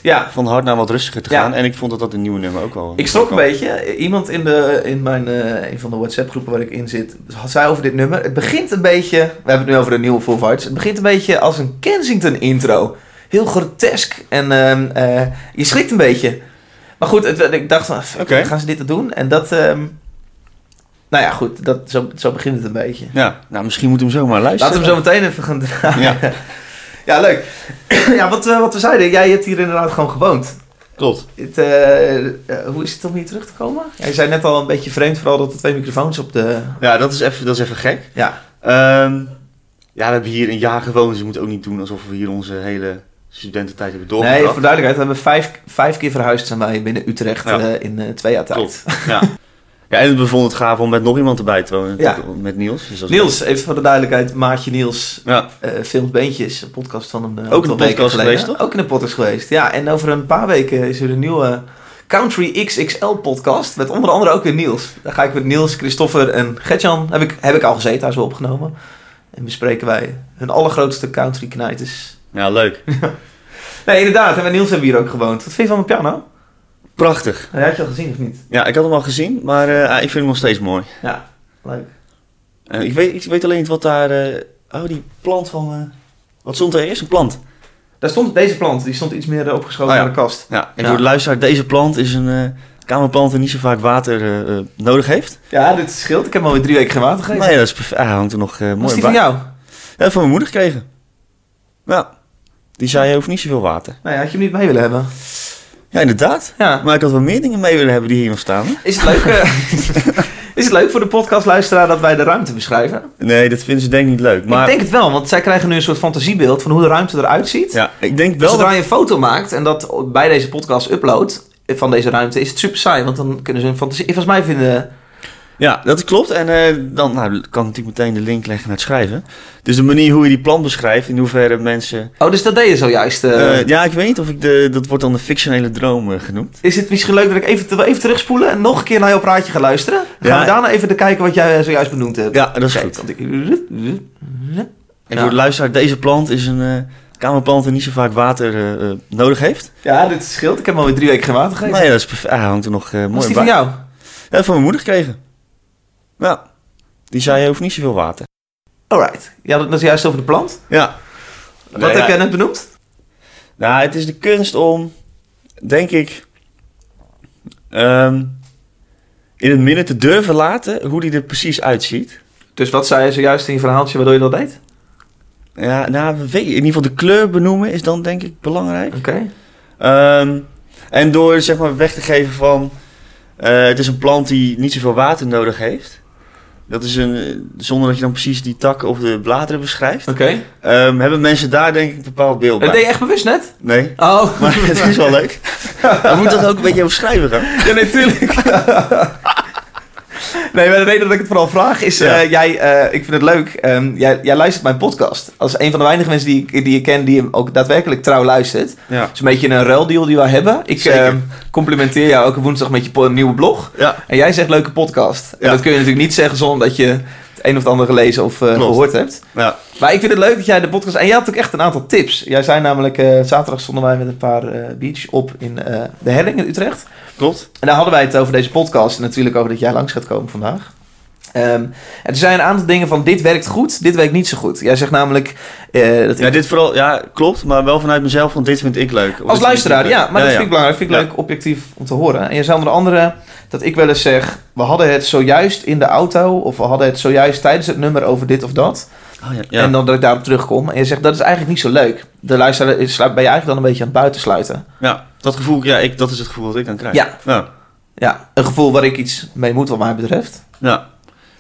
[SPEAKER 1] ja.
[SPEAKER 2] Van hard naar wat rustiger te
[SPEAKER 1] Ja.
[SPEAKER 2] gaan. En ik vond dat dat een nieuwe nummer ook wel.
[SPEAKER 1] Ik schrok een beetje. Iemand in, de, in mijn, eh, een van de WhatsApp-groepen waar ik in zit, had zij over dit nummer. Het begint een beetje, we hebben het nu over de nieuwe Full Fights. Het begint een beetje als een Kensington-intro. Heel grotesk en ehm, eh, je schrikt een beetje. Maar goed, het- ik dacht van, fuck,
[SPEAKER 2] Oké.
[SPEAKER 1] gaan ze dit dan doen? En dat, ehm, nou ja, goed, dat, zo, zo begint het een beetje.
[SPEAKER 2] Ja, nou misschien moeten we hem zomaar
[SPEAKER 1] Laten
[SPEAKER 2] luisteren.
[SPEAKER 1] we hem zo meteen even gaan draaien.
[SPEAKER 2] Ja.
[SPEAKER 1] Ja, leuk. ja, wat, eh, wat we zeiden, jij hebt hier inderdaad gewoon gewoond.
[SPEAKER 2] Klopt.
[SPEAKER 1] Het, eh, eh, hoe is het om hier terug te komen? Jij zei net al een beetje vreemd, vooral dat er twee microfoons op de...
[SPEAKER 2] Ja, dat is even, dat is even gek.
[SPEAKER 1] Ja,
[SPEAKER 2] Ehm, ja, we hebben hier een jaar gewoond. Dus we moeten ook niet doen alsof we hier onze hele studententijd hebben doorgebracht.
[SPEAKER 1] nee, voor duidelijkheid, we hebben vijf, vijf keer verhuisd zijn wij binnen Utrecht
[SPEAKER 2] Ja.
[SPEAKER 1] eh, in eh, twee jaar tijd.
[SPEAKER 2] Klopt. Ja. ja, en we vonden het gaaf om met nog iemand erbij te wonen.
[SPEAKER 1] Ja.
[SPEAKER 2] Met Niels. Dus dat is-
[SPEAKER 1] Niels, even voor de duidelijkheid, maatje Niels
[SPEAKER 2] Ja.
[SPEAKER 1] eh filmt Beentjes, een podcast van hem. eh,
[SPEAKER 2] Ook in de
[SPEAKER 1] aantal weken
[SPEAKER 2] podcast
[SPEAKER 1] geleden.
[SPEAKER 2] geweest, toch?
[SPEAKER 1] Ook in de podcast geweest, ja. En over een paar weken is er een nieuwe Country XXL podcast, met onder andere ook weer Niels. Daar ga ik met Niels, Christoffer en Gertjan, heb ik, heb ik al gezeten, daar is wel opgenomen. En bespreken wij hun allergrootste country knijters.
[SPEAKER 2] ja, leuk.
[SPEAKER 1] Nee, inderdaad. En bij Niels hebben we hier ook gewoond. Wat vind je van mijn piano?
[SPEAKER 2] Prachtig.
[SPEAKER 1] Hij had je al gezien of niet?
[SPEAKER 2] Ja, ik had hem al gezien, maar eh, ik vind hem nog steeds mooi.
[SPEAKER 1] Ja, leuk.
[SPEAKER 2] Eh, ik, weet, ik weet alleen niet wat daar... eh, oh, die plant van... eh, wat stond er eerst? Een plant.
[SPEAKER 1] Daar stond deze plant. Die stond iets meer eh, opgeschoten
[SPEAKER 2] Oh ja.
[SPEAKER 1] naar de kast.
[SPEAKER 2] Ja, en
[SPEAKER 1] Ja.
[SPEAKER 2] voor de luisteraar, deze plant is een eh, kamerplant die niet zo vaak water eh, eh, nodig heeft.
[SPEAKER 1] Ja, dit scheelt. Ik heb hem alweer drie weken geen water gegeven.
[SPEAKER 2] Nee, dat is perfect. Hij hangt er nog eh,
[SPEAKER 1] Was
[SPEAKER 2] mooi
[SPEAKER 1] die
[SPEAKER 2] bij.
[SPEAKER 1] van jou?
[SPEAKER 2] Ja, van mijn moeder gekregen. Ja. Die zei, je hoeft niet zoveel water.
[SPEAKER 1] Nee, had je hem niet mee willen hebben?
[SPEAKER 2] Ja, inderdaad.
[SPEAKER 1] Ja.
[SPEAKER 2] Maar ik had wel meer dingen mee willen hebben die hier nog staan.
[SPEAKER 1] Is het leuk, eh, is het leuk voor de podcastluisteraar dat wij de ruimte beschrijven?
[SPEAKER 2] Nee, dat vinden ze denk ik niet leuk. Maar
[SPEAKER 1] Ik denk het wel, want zij krijgen nu een soort fantasiebeeld van hoe de ruimte eruit ziet.
[SPEAKER 2] ja, ik denk
[SPEAKER 1] Dus
[SPEAKER 2] wel...
[SPEAKER 1] zodra
[SPEAKER 2] dat-
[SPEAKER 1] je een foto maakt en dat bij deze podcast uploadt eh, van deze ruimte, is het super saai. Want dan kunnen ze hun fantasie... Volgens mij vinden...
[SPEAKER 2] Ja, dat klopt. En eh, dan nou, kan ik natuurlijk meteen de link leggen naar het schrijven. Dus de manier hoe je die plant beschrijft, in hoeverre mensen...
[SPEAKER 1] Oh, dus dat deed je zojuist. eh,
[SPEAKER 2] Eh, ja, ik weet niet of ik de... Dat wordt dan de fictionele droom eh, genoemd.
[SPEAKER 1] Is het misschien leuk dat ik even, te- even terugspoelen en nog een keer naar jouw praatje ga luisteren? Gaan
[SPEAKER 2] Ja.
[SPEAKER 1] we daarna even te kijken wat jij eh, zojuist benoemd hebt?
[SPEAKER 2] Ja, dat is
[SPEAKER 1] Kijk,
[SPEAKER 2] goed.
[SPEAKER 1] want ik-
[SPEAKER 2] En
[SPEAKER 1] Ja.
[SPEAKER 2] voor de luisteraar, deze plant is een eh, kamerplant die niet zo vaak water eh, eh, nodig heeft.
[SPEAKER 1] Ja, dit scheelt. Ik heb hem alweer drie weken geen water gegeven.
[SPEAKER 2] Nee, dat is perfect. Hij hangt er nog eh,
[SPEAKER 1] Was
[SPEAKER 2] mooi
[SPEAKER 1] die
[SPEAKER 2] bij.
[SPEAKER 1] van jou?
[SPEAKER 2] Ja, van mijn moeder gekregen. Ja. Die zei, je hoeft niet zoveel water.
[SPEAKER 1] Alright. Je had het net juist over de plant.
[SPEAKER 2] Ja.
[SPEAKER 1] Wat
[SPEAKER 2] Nee,
[SPEAKER 1] heb
[SPEAKER 2] ja.
[SPEAKER 1] jij net benoemd?
[SPEAKER 2] Nou, het is de kunst om, denk ik, ehm, in het midden te durven laten hoe die er precies uitziet.
[SPEAKER 1] Dus wat zei je zojuist in je verhaaltje waardoor je dat deed?
[SPEAKER 2] Ja, nou, weet je, in ieder geval de kleur benoemen is dan denk ik belangrijk.
[SPEAKER 1] Oké.
[SPEAKER 2] Ehm, en door zeg maar weg te geven van, eh, het is een plant die niet zoveel water nodig heeft. Dat is een, eh, zonder dat je dan precies die takken of de bladeren beschrijft.
[SPEAKER 1] Oké.
[SPEAKER 2] Ehm, hebben mensen daar denk ik een bepaald beeld
[SPEAKER 1] Dat
[SPEAKER 2] bij.
[SPEAKER 1] deed je echt bewust net?
[SPEAKER 2] Nee,
[SPEAKER 1] Oh.
[SPEAKER 2] maar het is wel leuk. We moeten toch ook een beetje over schrijven gaan?
[SPEAKER 1] Ja, natuurlijk. Nee, maar de reden dat ik het vooral vraag is,
[SPEAKER 2] Ja.
[SPEAKER 1] eh, jij, eh, ik vind het leuk, ehm, jij, jij luistert mijn podcast. Als een van de weinige mensen die ik, die ik ken die hem ook daadwerkelijk trouw luistert. Het
[SPEAKER 2] Ja.
[SPEAKER 1] is een beetje een ruildeal die we hebben. Ik
[SPEAKER 2] Zeker.
[SPEAKER 1] ehm, complimenteer jou elke woensdag met je po- nieuwe blog.
[SPEAKER 2] Ja.
[SPEAKER 1] En jij zegt leuke podcast. En
[SPEAKER 2] Ja.
[SPEAKER 1] dat kun je natuurlijk niet zeggen zonder dat je het een of het ander gelezen of eh,
[SPEAKER 2] Klopt.
[SPEAKER 1] gehoord hebt.
[SPEAKER 2] ja.
[SPEAKER 1] Maar ik vind het leuk dat jij de podcast... En jij had ook echt een aantal tips. Jij zei namelijk, eh, zaterdag stonden wij met een paar eh beach op in eh, de Helling in Utrecht.
[SPEAKER 2] Klopt.
[SPEAKER 1] En daar hadden wij het over deze podcast. En natuurlijk over dat jij langs gaat komen vandaag. Ehm, en er zijn een aantal dingen van dit werkt goed, dit werkt niet zo goed. Jij zegt namelijk... eh, dat
[SPEAKER 2] Ja, dit vooral, ja, klopt, maar wel vanuit mezelf, want dit vind ik leuk. Of dit vind
[SPEAKER 1] als
[SPEAKER 2] ik
[SPEAKER 1] luisteraar,
[SPEAKER 2] leuk.
[SPEAKER 1] ja. Maar dat vind ik belangrijk. vind ik
[SPEAKER 2] Ja.
[SPEAKER 1] leuk objectief om te horen. En jij zei onder andere dat ik wel eens zeg... We hadden het zojuist in de auto... Of we hadden het zojuist tijdens het nummer over dit of dat.
[SPEAKER 2] Oh, ja. Ja.
[SPEAKER 1] En dan dat ik daarop terugkom. En je zegt, dat is eigenlijk niet zo leuk. De luisteraar is, ben je eigenlijk dan een beetje aan het buitensluiten.
[SPEAKER 2] Ja, dat gevoel, ja, ik, dat is het gevoel dat ik dan krijg.
[SPEAKER 1] Ja.
[SPEAKER 2] Ja.
[SPEAKER 1] Ja, een gevoel waar ik iets mee moet wat mij betreft.
[SPEAKER 2] ja.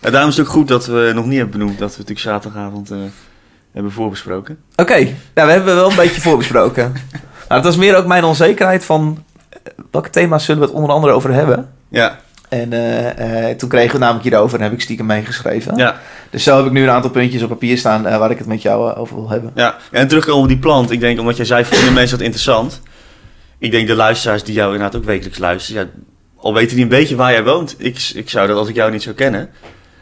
[SPEAKER 2] En daarom is het ook goed dat we nog niet hebben benoemd dat we natuurlijk zaterdagavond eh, hebben voorbesproken.
[SPEAKER 1] Oké, nou, we hebben wel een beetje voorbesproken. Maar het was meer ook mijn onzekerheid van... eh, welke thema's zullen we het onder andere over hebben?
[SPEAKER 2] Ja,
[SPEAKER 1] En eh, eh, toen kregen we het namelijk hierover en heb ik stiekem meegeschreven.
[SPEAKER 2] ja,
[SPEAKER 1] Dus zo heb ik nu een aantal puntjes op papier staan eh, waar ik het met jou eh, over wil hebben.
[SPEAKER 2] ja. En terugkomen op die plant. Ik denk, omdat jij zei, vinden mensen dat interessant. Ik denk de luisteraars die jou inderdaad ook wekelijks luisteren, ja, al weten die een beetje waar jij woont. Ik, ik zou dat als ik jou niet zou kennen.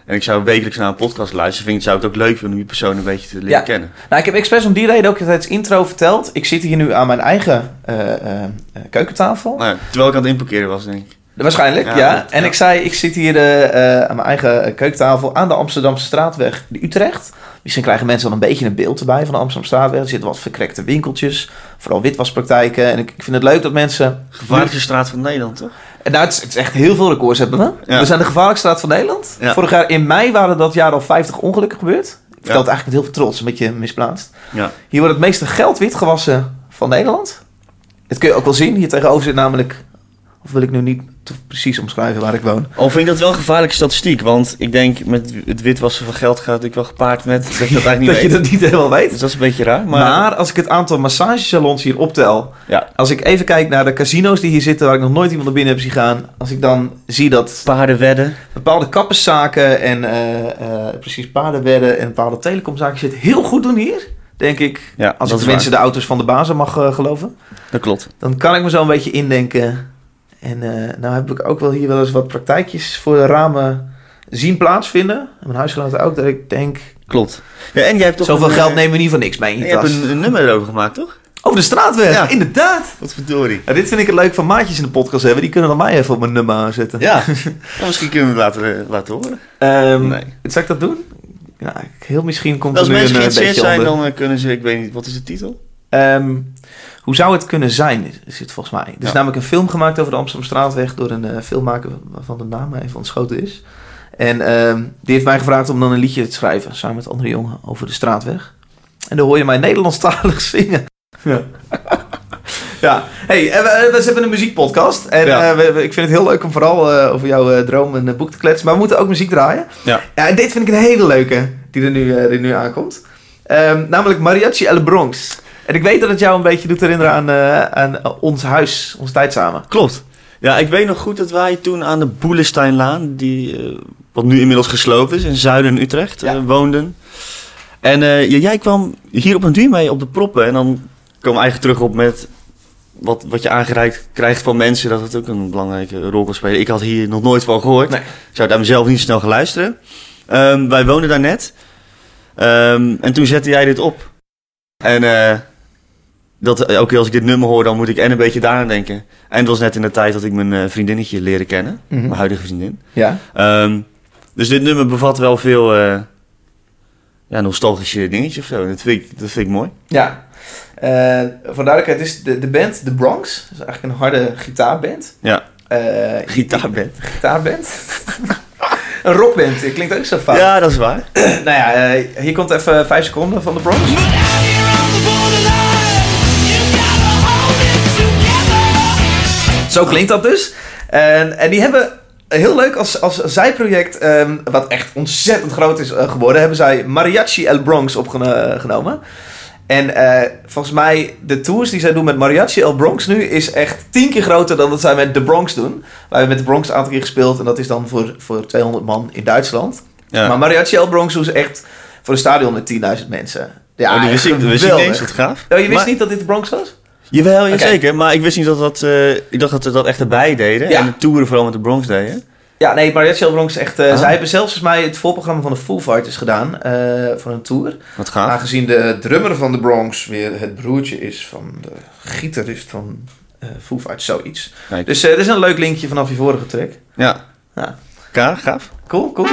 [SPEAKER 2] En ik zou wekelijks naar een podcast luisteren. Vind ik, zou ik het ook leuk vinden om die persoon een beetje te leren
[SPEAKER 1] Ja.
[SPEAKER 2] kennen.
[SPEAKER 1] Nou, ik heb expres om die reden ook tijdens intro verteld. Ik zit hier nu aan mijn eigen eh, eh, eh, keukentafel.
[SPEAKER 2] Nou ja, terwijl ik aan het inparkeren was, denk ik.
[SPEAKER 1] Waarschijnlijk, ja.
[SPEAKER 2] Ja, dat-
[SPEAKER 1] en
[SPEAKER 2] ja.
[SPEAKER 1] ik zei, ik zit hier eh, eh, aan mijn eigen eh, keukentafel aan de Amsterdamse straatweg in Utrecht. Misschien krijgen mensen wel een beetje een beeld erbij van de Amsterdamse straatweg. Er zitten wat verkrekte winkeltjes, vooral witwaspraktijken. En ik, ik vind het leuk dat mensen...
[SPEAKER 2] Gevaarlijkste straat van Nederland, toch?
[SPEAKER 1] En nou, het is, het is echt heel veel records hebben we.
[SPEAKER 2] Ja.
[SPEAKER 1] We zijn de gevaarlijkste straat van Nederland.
[SPEAKER 2] Ja.
[SPEAKER 1] Vorig jaar in mei waren dat jaar al 50 ongelukken gebeurd. Ik vertel
[SPEAKER 2] Ja.
[SPEAKER 1] het eigenlijk met heel veel trots, een beetje misplaatst.
[SPEAKER 2] Ja.
[SPEAKER 1] Hier wordt het meeste geld witgewassen van Nederland. Dat kun je ook wel zien. Hier tegenover zit namelijk... Of wil ik nu niet te precies omschrijven waar ik woon.
[SPEAKER 2] Al vind ik dat wel een gevaarlijke statistiek, want ik denk met het witwassen van geld gaat ik wel gepaard met dat je dat eigenlijk niet
[SPEAKER 1] dat je
[SPEAKER 2] weet.
[SPEAKER 1] dat niet helemaal weet.
[SPEAKER 2] Dus dat is een beetje raar,
[SPEAKER 1] Maar,
[SPEAKER 2] maar,
[SPEAKER 1] als ik het aantal massagesalons hier optel...
[SPEAKER 2] ja,
[SPEAKER 1] Als ik even kijk naar de casino's die hier zitten... waar ik nog nooit iemand naar binnen heb zien gaan... als ik dan zie dat
[SPEAKER 2] paarden wedden.
[SPEAKER 1] bepaalde kapperszaken... en eh, eh, precies paardenwedden en bepaalde telecomzaken... zit heel goed doen hier, denk ik.
[SPEAKER 2] Ja,
[SPEAKER 1] Als
[SPEAKER 2] dat
[SPEAKER 1] ik de
[SPEAKER 2] is
[SPEAKER 1] mensen de auto's van de bazen mag eh, geloven.
[SPEAKER 2] waar. Dat klopt.
[SPEAKER 1] Dan kan ik me zo een beetje indenken. En eh, nou heb ik ook wel hier wel eens wat praktijkjes... voor de ramen zien plaatsvinden. En Mijn huisgenoten ook, dat ik denk...
[SPEAKER 2] Klopt. Ja, en jij hebt toch
[SPEAKER 1] Zoveel
[SPEAKER 2] een,
[SPEAKER 1] geld
[SPEAKER 2] eh,
[SPEAKER 1] nemen we niet van niks mee in je
[SPEAKER 2] Je hebt
[SPEAKER 1] tas.
[SPEAKER 2] een, een nummer erover gemaakt, toch?
[SPEAKER 1] Over de straatweg,
[SPEAKER 2] Ja.
[SPEAKER 1] inderdaad.
[SPEAKER 2] Wat verdorie.
[SPEAKER 1] Ja, dit vind ik het leuk van maatjes in de podcast hebben. Die kunnen dan mij even op mijn nummer zetten.
[SPEAKER 2] Ja, Nou, misschien kunnen we het laten, eh, laten horen.
[SPEAKER 1] Ehm,
[SPEAKER 2] Nee.
[SPEAKER 1] Zal ik dat doen? Ja, ik- heel misschien komt
[SPEAKER 2] Als
[SPEAKER 1] er nu een
[SPEAKER 2] mensen
[SPEAKER 1] eh,
[SPEAKER 2] geïnteresseerd
[SPEAKER 1] beetje
[SPEAKER 2] zijn,
[SPEAKER 1] onder.
[SPEAKER 2] dan eh, kunnen ze, ik weet niet, wat is de titel?
[SPEAKER 1] Ehm, hoe zou het kunnen zijn, is het volgens mij. Er is
[SPEAKER 2] Ja.
[SPEAKER 1] namelijk een film gemaakt over de Amsterdamstraatweg... door een eh, filmmaker waarvan de naam mij even ontschoten is. En ehm, die heeft mij gevraagd om dan een liedje te schrijven... samen met andere jongen over de straatweg. En dan hoor je mij Nederlandstalig zingen.
[SPEAKER 2] Ja.
[SPEAKER 1] Ja, hey, eh, we, we hebben een muziekpodcast. En
[SPEAKER 2] Ja.
[SPEAKER 1] eh, we- we- ik vind het heel leuk om vooral eh, over jouw eh, droom en eh, boek te kletsen. Maar we moeten ook muziek draaien.
[SPEAKER 2] Ja.
[SPEAKER 1] en dit vind ik een hele leuke die er nu, eh, die nu aankomt. Ehm, namelijk Mariachi El Bronx. En ik weet dat het jou een beetje doet herinneren aan, eh, aan eh, ons huis, ons tijd samen.
[SPEAKER 2] Klopt. Ja, ik weet nog goed dat wij toen aan de Boelesteinlaan, die, eh, wat nu inmiddels gesloopt is, in Zuiden Utrecht,
[SPEAKER 1] Ja.
[SPEAKER 2] eh, woonden. En eh, ja, jij kwam hier op een duur mee op de proppen. En dan komen we eigenlijk terug op met wat, wat je aangereikt krijgt van mensen, dat het ook een belangrijke rol kan spelen. Ik had hier nog nooit van gehoord.
[SPEAKER 1] Nee.
[SPEAKER 2] Ik zou daar mezelf niet snel gaan luisteren. Ehm, wij woonden daar net. Ehm, en toen zette jij dit op. En eh, dat, eh, elke keer als ik dit nummer hoor, dan moet ik en een beetje daaraan denken. En het was net in de tijd dat ik mijn eh, vriendinnetje leerde kennen.
[SPEAKER 1] Hm.
[SPEAKER 2] Mijn huidige vriendin.
[SPEAKER 1] Ja.
[SPEAKER 2] Ehm, dus dit nummer bevat wel veel eh, ja, nostalgische dingetjes of zo. Dat vind ik, dat vind ik mooi.
[SPEAKER 1] ja. Eh, voor duidelijkheid is de, de band The Bronx. Dat is eigenlijk een harde gitaarband.
[SPEAKER 2] Ja.
[SPEAKER 1] Eh,
[SPEAKER 2] Gitaarband.
[SPEAKER 1] gitaarband. een rockband, eh, klinkt ook zo fout.
[SPEAKER 2] Ja, dat is waar.
[SPEAKER 1] Nou ja, eh, hier komt even 5 seconden van de Bronx. Zo klinkt dat dus. En, en die hebben heel leuk als, als zijproject, ehm, wat echt ontzettend groot is eh, geworden, hebben zij Mariachi El Bronx opgenomen. eh, En eh, volgens mij, de tours die zij doen met Mariachi El Bronx nu... is echt tien keer groter dan dat zij met The Bronx doen. Wij hebben met The Bronx een aantal keer gespeeld... en dat is dan voor, voor 200 man in Duitsland.
[SPEAKER 2] Ja.
[SPEAKER 1] Maar Mariachi El Bronx doen ze echt voor een stadion met 10.000 mensen. Ja,
[SPEAKER 2] oh, die wist ik, dat wist ik niet
[SPEAKER 1] geweldig.
[SPEAKER 2] eens, wat gaaf.
[SPEAKER 1] Oh, je wist
[SPEAKER 2] Maar-
[SPEAKER 1] niet dat dit de Bronx was?
[SPEAKER 2] Jawel,
[SPEAKER 1] Oké.
[SPEAKER 2] zeker. Maar ik wist niet dat dat... eh, ik dacht dat ze dat echt erbij deden.
[SPEAKER 1] Ja.
[SPEAKER 2] En de toeren vooral met de Bronx deden.
[SPEAKER 1] Ja, nee, Mariachi El Bronx is echt... eh,
[SPEAKER 2] Ah.
[SPEAKER 1] Zij hebben zelfs volgens mij het voorprogramma van de Foo Fighters gedaan... eh, voor een tour.
[SPEAKER 2] Wat gaaf.
[SPEAKER 1] Ah. Aangezien de drummer van de Bronx weer het broertje is van de gitarist van eh Foo Fighters, zoiets.
[SPEAKER 2] Kijk.
[SPEAKER 1] Dus eh, dit is een leuk linkje vanaf je vorige track.
[SPEAKER 2] Ja.
[SPEAKER 1] Ja.
[SPEAKER 2] Ka, gaaf.
[SPEAKER 1] Cool, cool.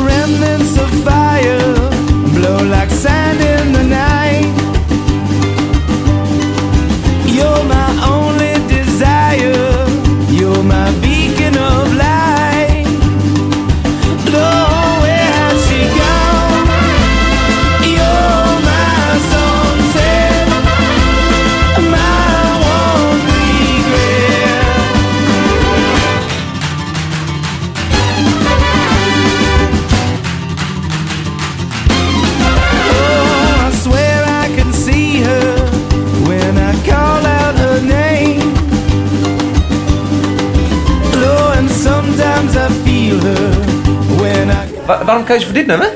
[SPEAKER 3] Remnants of fire blow like sand in the night. You're my only desire. You're my beacon of light. Though where has she gone? You're my sunset, my one regret. I swear I can see her when I call out her name. Low and sometimes I feel her when I
[SPEAKER 1] Wa- waarom keuze voor dit nummer?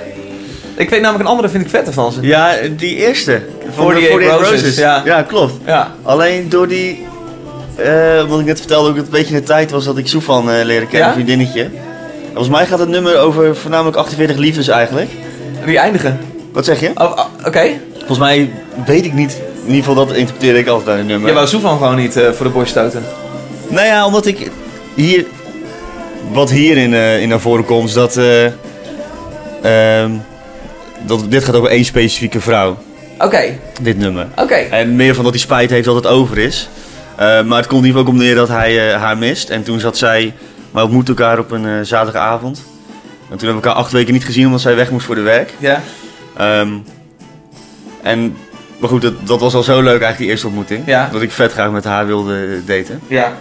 [SPEAKER 1] Ik weet namelijk een andere vind ik vetter van ze.
[SPEAKER 2] Ja, die eerste. Voor
[SPEAKER 1] 48 Roses, ja.
[SPEAKER 2] klopt.
[SPEAKER 1] Ja.
[SPEAKER 2] Alleen door die... eh wat ik net vertelde, ook dat het een beetje de tijd was dat ik Soefan eh leren kennen,
[SPEAKER 1] Ja?
[SPEAKER 2] een vriendinnetje. En volgens mij gaat het nummer over voornamelijk 48 liefdes eigenlijk.
[SPEAKER 1] Die eindigen.
[SPEAKER 2] Wat zeg je?
[SPEAKER 1] Oh, oh, Oké.
[SPEAKER 2] Volgens mij weet ik niet. In ieder geval dat interpreteer ik altijd aan het nummer.
[SPEAKER 1] Je wou Soefan gewoon niet eh, voor de borst stoten.
[SPEAKER 2] Nou ja, omdat ik hier. Wat hierin eh in naar voren komt, is dat. eh, ehm, dat dit gaat over één specifieke vrouw.
[SPEAKER 1] Oké,
[SPEAKER 2] Dit nummer.
[SPEAKER 1] oké.
[SPEAKER 2] En meer van dat hij spijt heeft dat het over is. Eh, maar het komt in ieder geval ook om neer dat hij eh, haar mist. En toen zat zij. Maar we moeten elkaar op een eh, zaterdagavond. En toen hebben we elkaar acht weken niet gezien omdat zij weg moest voor de werk.
[SPEAKER 1] Ja.
[SPEAKER 2] Ehm, en. Maar goed, dat, dat was al zo leuk eigenlijk, die eerste ontmoeting.
[SPEAKER 1] Ja.
[SPEAKER 2] Dat ik vet graag met haar wilde daten.
[SPEAKER 1] Ja.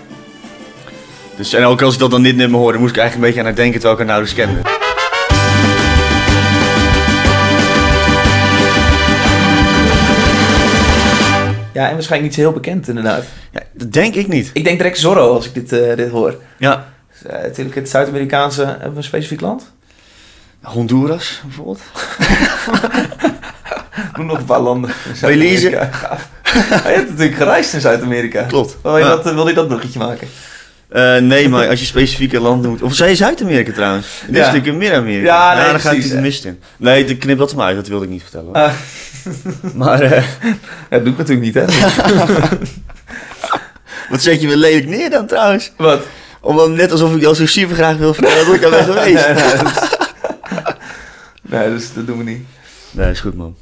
[SPEAKER 2] Dus, en ook als ik dat dan dit nummer hoorde, moest ik eigenlijk een beetje aan haar denken terwijl ik haar nauwelijks kende.
[SPEAKER 1] Ja, en waarschijnlijk niet zo heel bekend inderdaad.
[SPEAKER 2] Ja, dat denk ik niet.
[SPEAKER 1] Ik denk direct Zorro als ik dit, eh, dit hoor.
[SPEAKER 2] Ja.
[SPEAKER 1] Dus, eh, natuurlijk het Zuid-Amerikaanse, hebben we een specifiek land?
[SPEAKER 2] Honduras bijvoorbeeld.
[SPEAKER 1] Noem nog een paar landen.
[SPEAKER 2] Belize.
[SPEAKER 1] Zuid-Amerika. Hij heeft natuurlijk gereisd in Zuid-Amerika.
[SPEAKER 2] Klopt.
[SPEAKER 1] Wil je,
[SPEAKER 2] Ja.
[SPEAKER 1] dat, eh, wil je dat bruggetje maken?
[SPEAKER 2] Eh, nee, maar als je specifieke land noemt. Of zei je Zuid-Amerika trouwens? Dit
[SPEAKER 1] Ja.
[SPEAKER 2] is natuurlijk Midden-Amerika. Nou,
[SPEAKER 1] Ja, nee,
[SPEAKER 2] dan ga ik
[SPEAKER 1] precies,
[SPEAKER 2] het mist in. Nee, ik knip dat maar uit, dat wilde ik niet vertellen. hoor.
[SPEAKER 1] Ah.
[SPEAKER 2] maar eh,
[SPEAKER 1] Ja, dat doet natuurlijk niet, hè?
[SPEAKER 2] wat zet je me lelijk neer dan trouwens?
[SPEAKER 1] Wat?
[SPEAKER 2] Omdat net alsof ik jou zo super graag wil vertellen dat ik daar ben
[SPEAKER 1] Nee,
[SPEAKER 2] geweest.
[SPEAKER 1] nee, dat is- nee, dus dat doen we niet.
[SPEAKER 2] Nee, is goed man.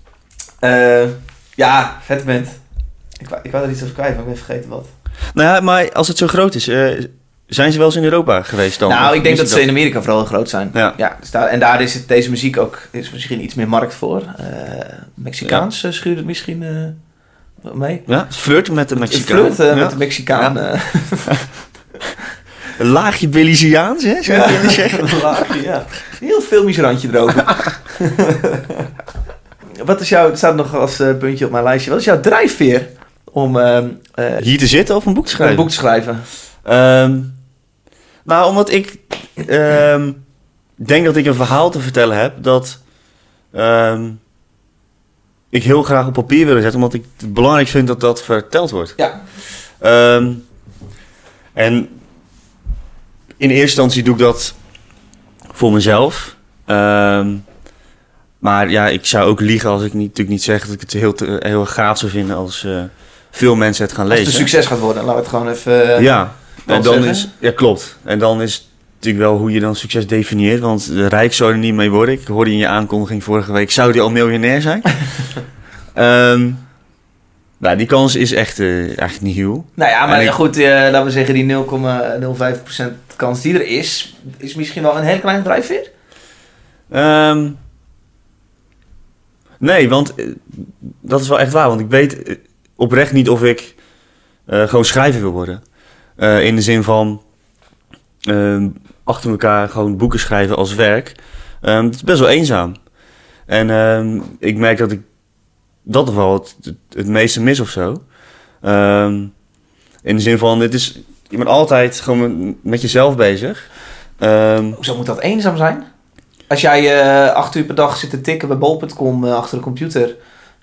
[SPEAKER 1] Eh, ja, vet bent. Ik, wou- ik wou er iets over kwijt, maar ik ben vergeten wat.
[SPEAKER 2] Nou ja, maar als het zo groot is, eh, zijn ze wel eens in Europa geweest dan?
[SPEAKER 1] nou,
[SPEAKER 2] Of
[SPEAKER 1] ik denk
[SPEAKER 2] is
[SPEAKER 1] dat ze in Amerika vooral heel groot zijn.
[SPEAKER 2] Ja.
[SPEAKER 1] dus daar, en daar is het, deze muziek ook is misschien iets meer markt voor. Eh, Mexicaans eh, schuurt het misschien eh, wel mee.
[SPEAKER 2] Ja, flirten met de
[SPEAKER 1] Het
[SPEAKER 2] Mexicaan.
[SPEAKER 1] flirt eh,
[SPEAKER 2] Ja.
[SPEAKER 1] met de Mexicaan. eh,
[SPEAKER 2] Een laagje Belizeaans, hè? Zou je willen zeggen?
[SPEAKER 1] Een laagje, ja. Heel filmisch randje erover. Wat is jouw, het staat nog als eh, puntje op mijn lijstje. Wat is jouw drijfveer om ehm, eh,
[SPEAKER 2] Hier te zitten of een boek te
[SPEAKER 1] een
[SPEAKER 2] schrijven?
[SPEAKER 1] boek te schrijven?
[SPEAKER 2] Ehm, nou, omdat ik ehm, denk dat ik een verhaal te vertellen heb dat ehm, ik heel graag op papier wil zetten, omdat ik het belangrijk vind dat dat verteld wordt.
[SPEAKER 1] Ja.
[SPEAKER 2] Ehm, en in eerste instantie doe ik dat voor mezelf. Ehm, maar ja, ik zou ook liegen als ik niet, natuurlijk niet zeg dat ik het heel, te- heel gaaf zou vinden als eh, veel mensen het gaan
[SPEAKER 1] Als
[SPEAKER 2] lezen.
[SPEAKER 1] het een succes gaat worden, laten we het gewoon even... eh,
[SPEAKER 2] Ja,
[SPEAKER 1] dan
[SPEAKER 2] en dan
[SPEAKER 1] zeggen.
[SPEAKER 2] is, ja, klopt. En dan is het natuurlijk wel hoe je dan succes definieert. Want rijk zou er niet mee worden. Ik hoorde in je aankondiging vorige week, zou die al miljonair zijn? Ehm, Nou, die kans is echt eh, eigenlijk niet heel.
[SPEAKER 1] Nou ja, maar
[SPEAKER 2] En ik-
[SPEAKER 1] goed, eh, laten we zeggen, die 0,05% kans die er is, is misschien wel een heel klein drijfveer.
[SPEAKER 2] Ehm, nee, want eh, dat is wel echt waar. Want ik weet eh, oprecht niet of ik eh, gewoon schrijver wil worden. Eh, in de zin van ehm, achter elkaar gewoon boeken schrijven als werk. Ehm, het is best wel eenzaam. En ehm, ik merk dat ik dat nog wel het, het, het meeste mis of zo. Ehm, in de zin van, het is, je bent altijd gewoon met, met jezelf bezig. Ehm,
[SPEAKER 1] Hoezo moet dat eenzaam zijn? Als jij eh acht uur per dag zit te tikken bij bol.com eh, achter de computer,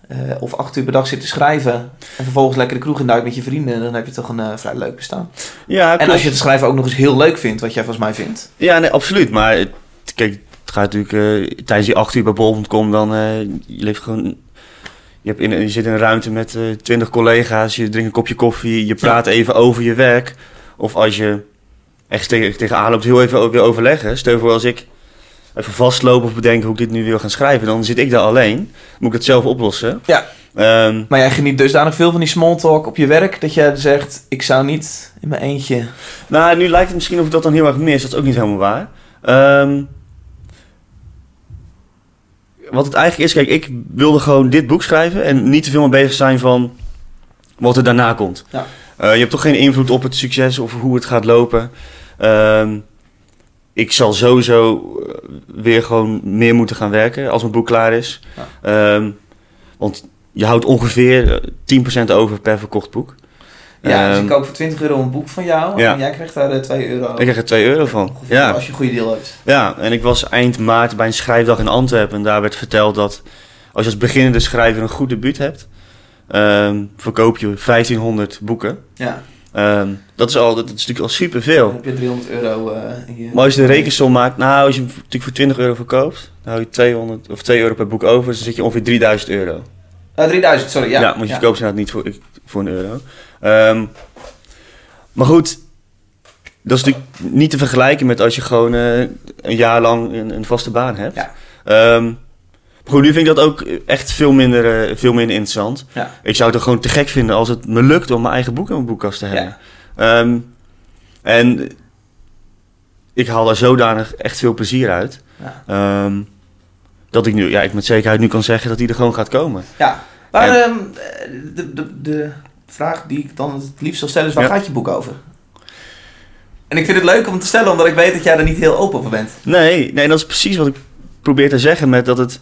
[SPEAKER 1] eh, of acht uur per dag zit te schrijven, en vervolgens lekker de kroeg induikt met je vrienden, dan heb je toch een eh, vrij leuk bestaan.
[SPEAKER 2] ja,
[SPEAKER 1] En als
[SPEAKER 2] klopt.
[SPEAKER 1] je het schrijven ook nog eens heel leuk vindt, wat jij volgens mij vindt.
[SPEAKER 2] Ja, nee, absoluut. Maar het- kijk, het gaat natuurlijk eh, tijdens die acht uur bij bol.com dan eh, je leeft gewoon. Je, hebt in, een- je zit in een ruimte met eh, twintig collega's, je drinkt een kopje koffie, je praat even over je werk. Of als je echt tegen, tegenaan loopt, heel even wil overleggen. Stel je voor als ik even vastloop of bedenk hoe ik dit nu wil gaan schrijven, dan zit ik daar alleen. Moet ik het zelf oplossen.
[SPEAKER 1] Ja.
[SPEAKER 2] Ehm,
[SPEAKER 1] Maar jij geniet dusdanig veel van die small talk op je werk, dat jij dus zegt, ik zou niet in mijn eentje...
[SPEAKER 2] Nou, nu lijkt het misschien of ik dat dan heel erg mis. Dat is ook niet helemaal waar. Ehm, wat het eigenlijk is, kijk, ik wilde gewoon dit boek schrijven en niet te veel mee bezig zijn van wat er daarna komt.
[SPEAKER 1] Ja.
[SPEAKER 2] Eh, je hebt toch geen invloed op het succes of hoe het gaat lopen. Ehm, ik zal sowieso eh, weer gewoon meer moeten gaan werken als mijn boek klaar is. Ehm, want je houdt ongeveer eh, 10% over per verkocht boek.
[SPEAKER 1] Ja, dus
[SPEAKER 2] Ehm,
[SPEAKER 1] ik koop voor 20 euro een boek van jou
[SPEAKER 2] ja.
[SPEAKER 1] en jij krijgt daar eh, 2 euro.
[SPEAKER 2] ik krijg er 2 euro van.
[SPEAKER 1] Ongeveer,
[SPEAKER 2] Ja.
[SPEAKER 1] Als je een goede deal hebt.
[SPEAKER 2] Ja, en ik was eind maart bij een schrijfdag in Antwerpen. En daar werd verteld dat als je als beginnende schrijver een goed debuut hebt, ehm, verkoop je 1500 boeken.
[SPEAKER 1] Ja,
[SPEAKER 2] Ehm, dat, is al, dat is natuurlijk al
[SPEAKER 1] dan
[SPEAKER 2] superveel.
[SPEAKER 1] heb je 300 euro eh, in je...
[SPEAKER 2] Maar als je de rekensom maakt, nou, als je hem natuurlijk voor 20 euro verkoopt, dan hou je 200 of 2 euro per boek over. Dus dan zit je ongeveer 3000 euro.
[SPEAKER 1] Eh, 3000, sorry. Ja,
[SPEAKER 2] Ja, want je verkoopt ze inderdaad niet voor, ik- voor een euro. Ehm, maar goed, dat is natuurlijk niet te vergelijken met als je gewoon eh, een jaar lang een, een vaste baan hebt.
[SPEAKER 1] Ja.
[SPEAKER 2] Ehm, maar goed, nu vind ik dat ook echt veel minder, eh, veel minder interessant.
[SPEAKER 1] Ja.
[SPEAKER 2] Ik zou het ook gewoon te gek vinden als het me lukt om mijn eigen boek in mijn boekkast te hebben. Ehm, en ik haal daar zodanig echt veel plezier uit.
[SPEAKER 1] Ja.
[SPEAKER 2] Ehm, dat ik nu, ja, ik met zekerheid nu kan zeggen dat die er gewoon gaat komen.
[SPEAKER 1] Ja, maar
[SPEAKER 2] En-
[SPEAKER 1] ehm, eh, de, de, de vraag die ik dan het liefst zou stellen is, waar
[SPEAKER 2] Ja.
[SPEAKER 1] gaat je boek over? En ik vind het leuk om te stellen, omdat ik weet dat jij er niet heel open voor bent.
[SPEAKER 2] Nee, nee, dat is precies wat ik probeer te zeggen met dat het...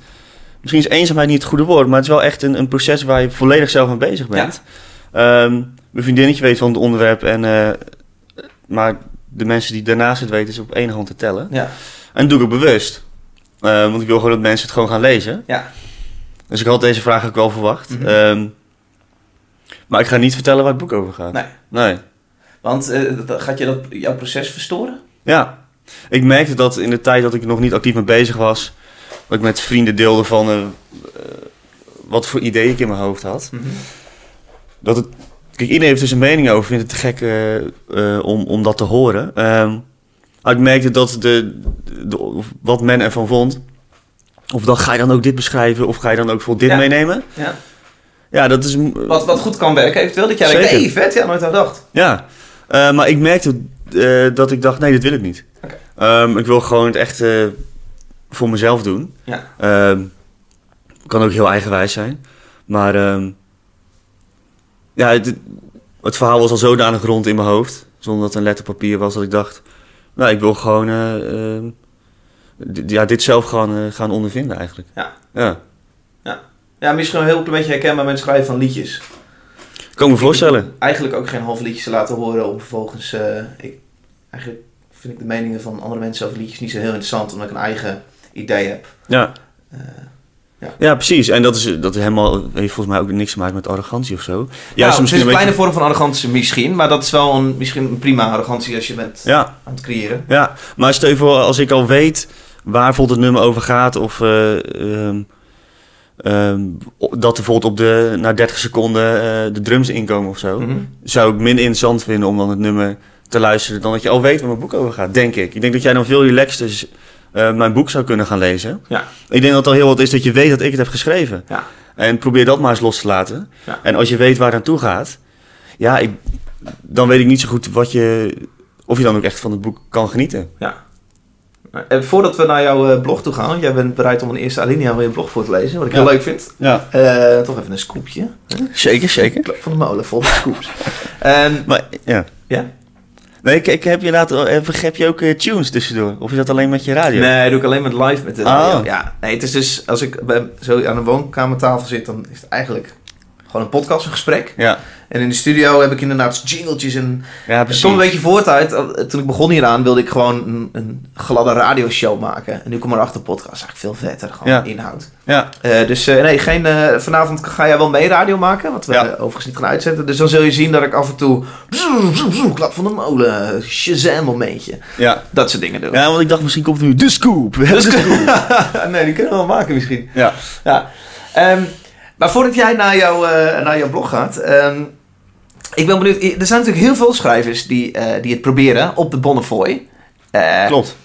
[SPEAKER 2] Misschien is eenzaamheid niet het goede woord, maar het is wel echt een, een proces waar je volledig zelf mee bezig bent. Ehm, mijn vriendinnetje weet van het onderwerp, en, eh, maar de mensen die daarnaast het weten is op één hand te tellen.
[SPEAKER 1] Ja.
[SPEAKER 2] En dat doe ik ook bewust. Eh, want ik wil gewoon dat mensen het gewoon gaan lezen.
[SPEAKER 1] Ja.
[SPEAKER 2] Dus ik had deze vraag ook wel verwacht.
[SPEAKER 1] Mhm.
[SPEAKER 2] Ehm, maar ik ga niet vertellen waar het boek over gaat.
[SPEAKER 1] Nee.
[SPEAKER 2] Nee.
[SPEAKER 1] Want eh, dat- gaat je dat, jouw proces verstoren?
[SPEAKER 2] Ja, ik merkte dat in de tijd dat ik er nog niet actief mee bezig was, dat ik met vrienden deelde van eh, eh, wat voor ideeën ik in mijn hoofd had. Dat het, kijk, iedereen heeft er zijn mening over, vindt het te gek eh, eh, om, om dat te horen. Ehm, maar ik merkte dat de, de- of wat men ervan vond, of dan ga je dan ook dit beschrijven, of ga je dan ook voor dit
[SPEAKER 1] Ja.
[SPEAKER 2] meenemen.
[SPEAKER 1] Ja.
[SPEAKER 2] Ja, dat is...
[SPEAKER 1] Wat, wat goed kan werken, eventueel. Dat jij denkt,
[SPEAKER 2] Zeker.
[SPEAKER 1] hey, vet, ja, nooit aan gedacht.
[SPEAKER 2] Ja, eh, maar ik merkte eh, dat ik dacht, nee, dit wil ik niet.
[SPEAKER 1] Oké.
[SPEAKER 2] Ehm, ik wil gewoon het echt eh, voor mezelf doen.
[SPEAKER 1] Ja.
[SPEAKER 2] Ehm, kan ook heel eigenwijs zijn. Maar ehm, ja, het, het verhaal was al zodanig rond in mijn hoofd, zonder dat het een letterpapier was, dat ik dacht, nou, ik wil gewoon eh, ehm, d- ja, dit zelf gaan, eh, gaan ondervinden eigenlijk.
[SPEAKER 1] Ja.
[SPEAKER 2] ja.
[SPEAKER 1] Ja, misschien wel een heel klein beetje herkenbaar met het schrijven van liedjes.
[SPEAKER 2] Kan ik me voorstellen.
[SPEAKER 1] Eigenlijk ook geen half liedjes te laten horen om vervolgens... eh, ik, eigenlijk vind ik de meningen van andere mensen over liedjes niet zo heel interessant, omdat ik een eigen idee heb.
[SPEAKER 2] Ja.
[SPEAKER 1] Eh,
[SPEAKER 2] Ja, precies. En dat, is, dat helemaal, heeft volgens mij ook niks te maken met arrogantie of zo. Juist
[SPEAKER 1] nou, het is
[SPEAKER 2] misschien
[SPEAKER 1] een
[SPEAKER 2] een
[SPEAKER 1] kleine
[SPEAKER 2] beetje...
[SPEAKER 1] vorm van arrogantie misschien, maar dat is wel een, misschien een prima arrogantie als je bent
[SPEAKER 2] Ja,
[SPEAKER 1] aan het creëren.
[SPEAKER 2] ja, maar stel je voor, als ik al weet waar bijvoorbeeld het nummer over gaat... of eh, ehm, ehm, dat er bijvoorbeeld op de, na 30 seconden eh, de drums inkomen of zo...
[SPEAKER 1] Mhm.
[SPEAKER 2] zou ik minder interessant vinden om dan het nummer te luisteren... dan dat je al weet waar mijn boek over gaat, denk ik. Ik denk dat jij dan veel relaxter eh, mijn boek zou kunnen gaan lezen.
[SPEAKER 1] Ja.
[SPEAKER 2] Ik denk dat het al heel wat is dat je weet dat ik het heb geschreven.
[SPEAKER 1] Ja.
[SPEAKER 2] En probeer dat maar eens los te laten.
[SPEAKER 1] Ja.
[SPEAKER 2] En als je weet waar het naartoe gaat, ja, ik, dan weet ik niet zo goed wat je, of je dan ook echt van het boek kan genieten.
[SPEAKER 1] Ja. En voordat we naar jouw eh, blog toe gaan, jij bent bereid om een eerste alinea van je blog voor te lezen, wat ik heel
[SPEAKER 2] Ja.
[SPEAKER 1] leuk vind.
[SPEAKER 2] Ja,
[SPEAKER 1] Eh, toch even een scoopje.
[SPEAKER 2] zeker, zeker.
[SPEAKER 1] Van de molen vol met scoops. Ehm,
[SPEAKER 2] Maar ja.
[SPEAKER 1] ja?
[SPEAKER 2] Nee, ik, ik heb je later, eh, heb je ook eh, tunes tussendoor? Of is dat alleen met je radio?
[SPEAKER 1] Nee, doe ik alleen met live met de
[SPEAKER 2] Oh.
[SPEAKER 1] radio. Ja, nee, het is dus als ik bij- zo aan een woonkamertafel zit, dan is het eigenlijk gewoon een podcast, een gesprek.
[SPEAKER 2] Ja,
[SPEAKER 1] En in de studio heb ik inderdaad jingletjes en
[SPEAKER 2] ja precies.
[SPEAKER 1] soms een beetje voortijd. Al- Toen ik begon hieraan wilde ik gewoon een, een gladde radioshow maken. En nu kom ik erachter, podcast is eigenlijk veel vetter, gewoon
[SPEAKER 2] Ja.
[SPEAKER 1] inhoud.
[SPEAKER 2] Ja,
[SPEAKER 1] Eh, dus eh, nee, geen, eh, vanavond ga jij wel mee radio maken, wat we
[SPEAKER 2] Ja.
[SPEAKER 1] eh, overigens niet gaan uitzetten. Dus dan zul je zien dat ik af en toe, zoem, zoem, zoem, klap van de molen, shazam momentje.
[SPEAKER 2] ja.
[SPEAKER 1] Dat soort dingen doen.
[SPEAKER 2] Ja, want ik dacht misschien komt er nu de scoop. We hebben de scoop.
[SPEAKER 1] Dus nee, die kunnen we wel maken misschien.
[SPEAKER 2] Ja.
[SPEAKER 1] Ja. Ehm, maar voordat jij naar, jou, eh, naar jouw blog gaat. ehm, ik ben benieuwd. Er zijn natuurlijk heel veel schrijvers die, eh, die het proberen op de Bonnefoy. Eh,
[SPEAKER 2] Klopt.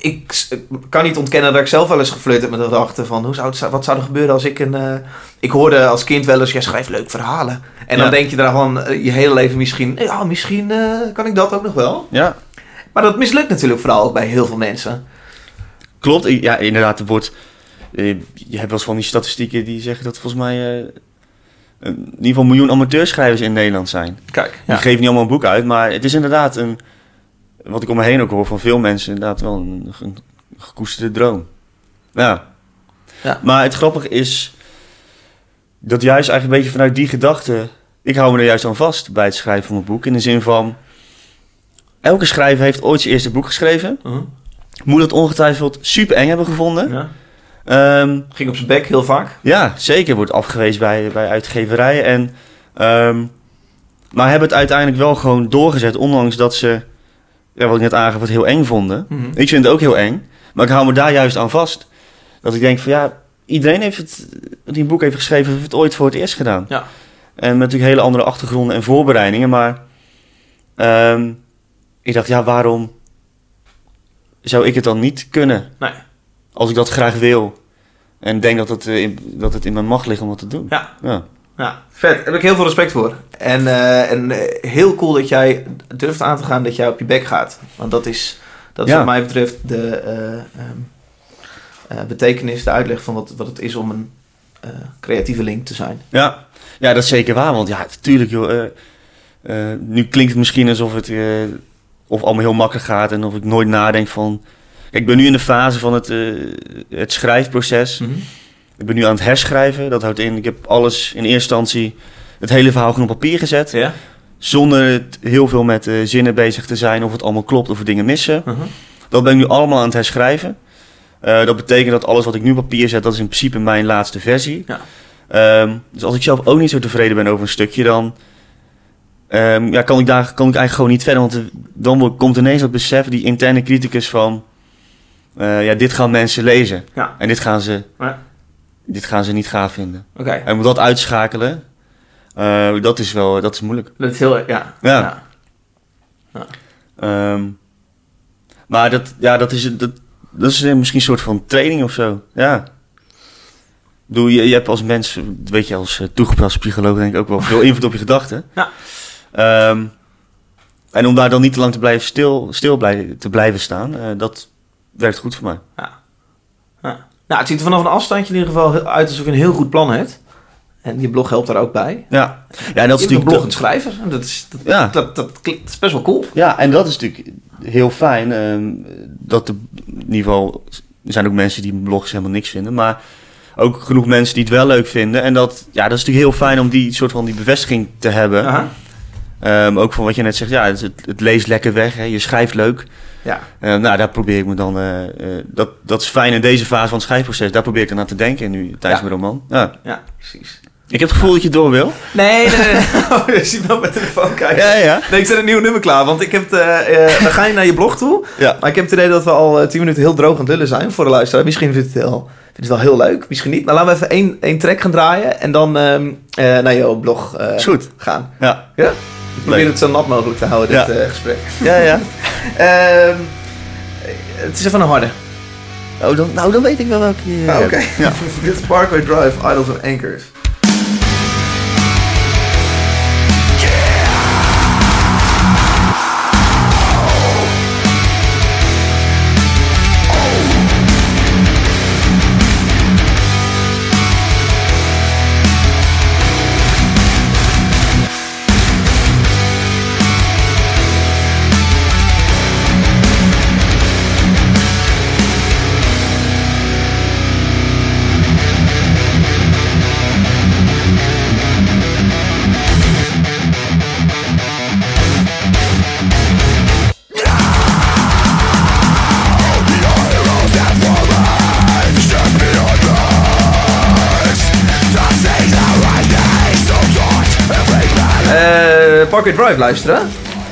[SPEAKER 1] Ik s- eh, kan niet ontkennen dat ik zelf wel eens geflirt heb met de gedachte van... Hoe zou het, wat zou er gebeuren als ik een... eh, ik hoorde als kind wel eens, jij schrijft leuk verhalen. En dan
[SPEAKER 2] Ja.
[SPEAKER 1] denk je daar van eh, je hele leven misschien... Ja, misschien eh, kan ik dat ook nog wel.
[SPEAKER 2] Ja,
[SPEAKER 1] Maar dat mislukt natuurlijk vooral ook bij heel veel mensen.
[SPEAKER 2] klopt. Ik- Ja, inderdaad, er wordt... eh, Je hebt wel eens van die statistieken die zeggen dat volgens mij... eh, een- in ieder geval een miljoen amateurschrijvers in Nederland zijn.
[SPEAKER 1] Kijk,
[SPEAKER 2] Die geven niet allemaal een boek uit, maar het is inderdaad een... Wat ik om me heen ook hoor van veel mensen, inderdaad wel een, een gekoesterde droom. Ja.
[SPEAKER 1] Ja.
[SPEAKER 2] Maar het grappige is dat juist eigenlijk een beetje vanuit die gedachte... Ik hou me er juist aan vast bij het schrijven van mijn boek. In de zin van, elke schrijver heeft ooit zijn eerste boek geschreven. Moet dat ongetwijfeld super eng hebben gevonden.
[SPEAKER 1] ja.
[SPEAKER 2] Ehm,
[SPEAKER 1] Ging op zijn bek heel vaak.
[SPEAKER 2] ja, zeker. Wordt afgewezen bij, bij uitgeverijen. En, ehm, maar hebben het uiteindelijk wel gewoon doorgezet. Ondanks dat ze, ja, wat ik net aangaf, het heel eng vonden. Ik vind het ook heel eng. Maar ik hou me daar juist aan vast. Dat ik denk van ja, iedereen heeft het, die een boek heeft geschreven, heeft het ooit voor het eerst gedaan.
[SPEAKER 1] Ja.
[SPEAKER 2] En met natuurlijk hele andere achtergronden en voorbereidingen. Maar ehm, ik dacht, ja, waarom zou ik het dan niet kunnen?
[SPEAKER 1] Nee.
[SPEAKER 2] Als ik dat graag wil. En denk dat het, eh, in, dat het in mijn macht ligt om dat te doen.
[SPEAKER 1] Ja.
[SPEAKER 2] Ja,
[SPEAKER 1] Ja, vet. Daar heb ik heel veel respect voor. En, eh, en eh, heel cool dat jij durft aan te gaan dat jij op je bek gaat. Want dat is, dat is
[SPEAKER 2] Ja.
[SPEAKER 1] wat mij betreft de eh, ehm, eh, betekenis, de uitleg van wat, wat het is om een eh, creatieve link te zijn.
[SPEAKER 2] ja. ja dat is zeker waar. Want ja, natuurlijk joh. eh, eh, nu klinkt het misschien alsof het eh, of allemaal heel makkelijk gaat. En of ik nooit nadenk van... Kijk, ik ben nu in de fase van het, eh, het schrijfproces. Ik ben nu aan het herschrijven. Dat houdt in, ik heb alles in eerste instantie... Het hele verhaal gewoon op papier gezet.
[SPEAKER 1] Ja?
[SPEAKER 2] Zonder het heel veel met eh, zinnen bezig te zijn. Of het allemaal klopt of we dingen missen.
[SPEAKER 1] Mhm.
[SPEAKER 2] Dat ben ik nu allemaal aan het herschrijven. Eh, dat betekent dat alles wat ik nu op papier zet, dat is in principe mijn laatste versie.
[SPEAKER 1] Ja.
[SPEAKER 2] Ehm, dus als ik zelf ook niet zo tevreden ben over een stukje, dan ehm, ja, kan, ik daar, kan ik eigenlijk gewoon niet verder. Want eh, dan wordt- komt ineens dat besef, die interne criticus van, eh, ja, dit gaan mensen lezen.
[SPEAKER 1] Ja.
[SPEAKER 2] En dit gaan, ze,
[SPEAKER 1] Ja.
[SPEAKER 2] dit gaan ze niet gaaf vinden.
[SPEAKER 1] Oké.
[SPEAKER 2] En om dat uitschakelen, eh, dat is wel, dat is moeilijk.
[SPEAKER 1] Dat is heel... Ja.
[SPEAKER 2] Ja. Ehm, maar dat, ja, dat is, dat, dat is eh, misschien een soort van training of zo. Ja. Doe, je, je hebt als mens, weet je, als eh, toegepast psycholoog denk ik ook wel veel invloed op je gedachten.
[SPEAKER 1] Ja.
[SPEAKER 2] Ehm, en om daar dan niet te lang te blijven stil, stil blij, te blijven staan, eh, dat werkt goed voor mij.
[SPEAKER 1] Nou, het ziet er vanaf een afstandje in ieder geval heel- uit alsof je een heel goed plan hebt. En je blog helpt daar ook bij.
[SPEAKER 2] Ja, ja
[SPEAKER 1] je
[SPEAKER 2] en dat is
[SPEAKER 1] bent een
[SPEAKER 2] natuurlijk.
[SPEAKER 1] bloggend schrijver. En dat, is, dat,
[SPEAKER 2] Ja.
[SPEAKER 1] dat, dat, klinkt- dat is best wel cool.
[SPEAKER 2] Ja, en dat is natuurlijk heel fijn. ehm, dat de, in ieder geval er zijn ook mensen die blogs helemaal niks vinden. Maar ook genoeg mensen die het wel leuk vinden. En dat, ja, dat is natuurlijk heel fijn om die soort van die bevestiging te hebben.
[SPEAKER 1] Aha.
[SPEAKER 2] Ehm, ook van wat je net zegt, ja, het, het, het leest lekker weg. Hè, je schrijft leuk.
[SPEAKER 1] Ja.
[SPEAKER 2] Ehm, nou, daar probeer ik me dan. eh, eh, dat, dat is fijn in deze fase van het schrijfproces. Daar probeer ik dan aan te denken nu tijdens
[SPEAKER 1] Ja.
[SPEAKER 2] mijn roman. Ja.
[SPEAKER 1] Ja, precies.
[SPEAKER 2] Ik heb het gevoel dat je door wil.
[SPEAKER 1] Nee, nee, nee. Oh, je ziet wel mijn telefoon kijken.
[SPEAKER 2] Ja, ja.
[SPEAKER 1] Nee, ik zet een nieuw nummer klaar, want ik heb het, eh, eh, we gaan je naar je blog toe.
[SPEAKER 2] Ja.
[SPEAKER 1] Maar ik heb het idee dat we al eh, 10 minuten heel droog aan het lullen zijn voor de luisteraar. Misschien vindt het, wel, vindt het wel heel leuk, misschien niet. Maar laten we even één, één track gaan draaien en dan ehm, eh, naar jouw blog eh,
[SPEAKER 2] Is goed.
[SPEAKER 1] gaan.
[SPEAKER 2] Ja,
[SPEAKER 1] Ja? Ik probeer
[SPEAKER 2] Leuk.
[SPEAKER 1] het zo nat mogelijk te houden, dit
[SPEAKER 2] Ja.
[SPEAKER 1] eh, gesprek.
[SPEAKER 2] ja. ja.
[SPEAKER 1] Ehm, het is even een harde.
[SPEAKER 2] Oh, dan, nou, dan weet ik wel welke. je
[SPEAKER 1] Ah,
[SPEAKER 2] hebt.
[SPEAKER 1] Oké. Dit is Parkway Drive, Idols of Anchors. Eh, Parkway Drive luisteren.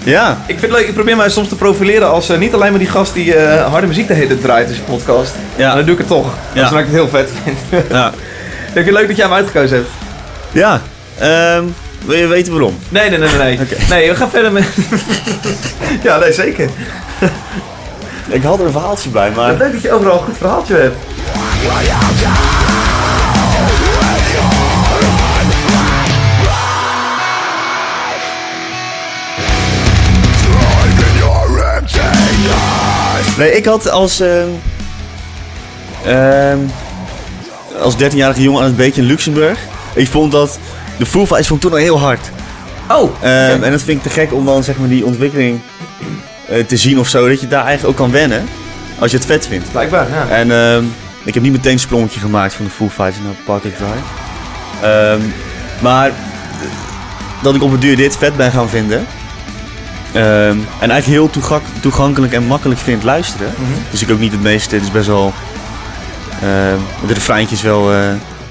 [SPEAKER 2] Ja,
[SPEAKER 1] Ik vind het leuk, ik probeer mij soms te profileren als eh, niet alleen maar die gast die eh, harde muziek de hele tijd draait in zijn podcast.
[SPEAKER 2] Ja.
[SPEAKER 1] Maar Dan doe ik het toch,
[SPEAKER 2] Ja.
[SPEAKER 1] omdat ik het heel vet vind.
[SPEAKER 2] ja.
[SPEAKER 1] Ik vind het leuk dat jij hem uitgekozen hebt.
[SPEAKER 2] ja. Ehm, wil je weten waarom?
[SPEAKER 1] Nee, nee, nee, nee. Nee, nee we gaan verder met... ja, nee, zeker.
[SPEAKER 2] Ik had er een verhaaltje bij, maar...
[SPEAKER 1] Leuk dat je overal een goed verhaaltje hebt.
[SPEAKER 2] Nee, ik had als. ehm, ehm, als 13-jarige jongen aan het beetje in Luxemburg. Ik vond dat. De Foo Fighters vond ik toen al heel hard.
[SPEAKER 1] Oh,
[SPEAKER 2] Ehm, En dat vind ik te gek om dan zeg maar die ontwikkeling eh, te zien of zo. Dat je daar eigenlijk ook kan wennen. Als je het vet vindt.
[SPEAKER 1] blijkbaar, ja.
[SPEAKER 2] En ehm, ik heb niet meteen een sprongetje gemaakt van de Foo Fighters naar Park Drive. Ehm, maar eh, dat ik op het duur dit vet ben gaan vinden. Ehm, en eigenlijk heel toega- toegankelijk en makkelijk vind luisteren.
[SPEAKER 1] Mhm.
[SPEAKER 2] Dus ik ook niet het meeste. Het is best wel... ehm, de refreintje is wel... eh,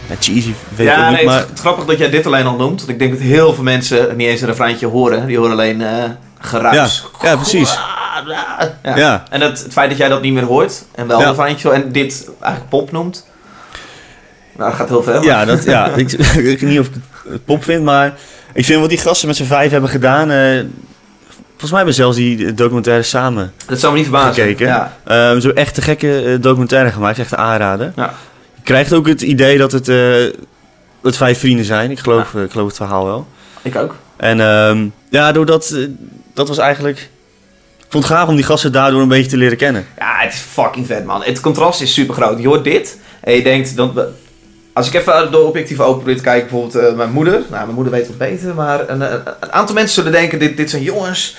[SPEAKER 2] ja, cheesy, weet ik ook
[SPEAKER 1] Ja,
[SPEAKER 2] niet,
[SPEAKER 1] nee,
[SPEAKER 2] maar...
[SPEAKER 1] het, is, het is grappig dat jij dit alleen al noemt. Want ik denk dat heel veel mensen niet eens een refreintje horen. Die horen alleen eh
[SPEAKER 2] Ja,
[SPEAKER 1] geruis.
[SPEAKER 2] ja, precies.
[SPEAKER 1] Ja.
[SPEAKER 2] Ja.
[SPEAKER 1] En dat, het feit dat jij dat niet meer hoort. En wel
[SPEAKER 2] Ja.
[SPEAKER 1] een refreintje zo- en dit eigenlijk pop noemt. Nou, dat gaat heel ver. maar-
[SPEAKER 2] Ja, dat, ja ik, ik weet niet of ik het pop vind, maar ik vind wat die gasten met z'n vijf hebben gedaan. eh, volgens mij hebben we zelfs die documentaire samen
[SPEAKER 1] Dat zou me niet verbazen.
[SPEAKER 2] gekeken.
[SPEAKER 1] Ah, Ja.
[SPEAKER 2] Ehm, zo echt een gekke eh, documentaire gemaakt, echt aanraden.
[SPEAKER 1] Ja.
[SPEAKER 2] Je krijgt ook het idee dat het, eh, dat vijf vrienden zijn. Ik geloof, eh, ik geloof het verhaal wel.
[SPEAKER 1] Ik ook.
[SPEAKER 2] En ehm, ja, doordat, eh, dat was eigenlijk... Ik vond het gaaf om die gasten daardoor een beetje te leren kennen.
[SPEAKER 1] Ja, het is fucking vet, man. Het contrast is super groot. Je hoort dit en je denkt... Dan, als ik even door objectief open probeer te kijken, bijvoorbeeld eh, mijn moeder. Nou, mijn moeder weet wat beter, maar een, een- een aantal mensen zullen denken... Dit, dit zijn jongens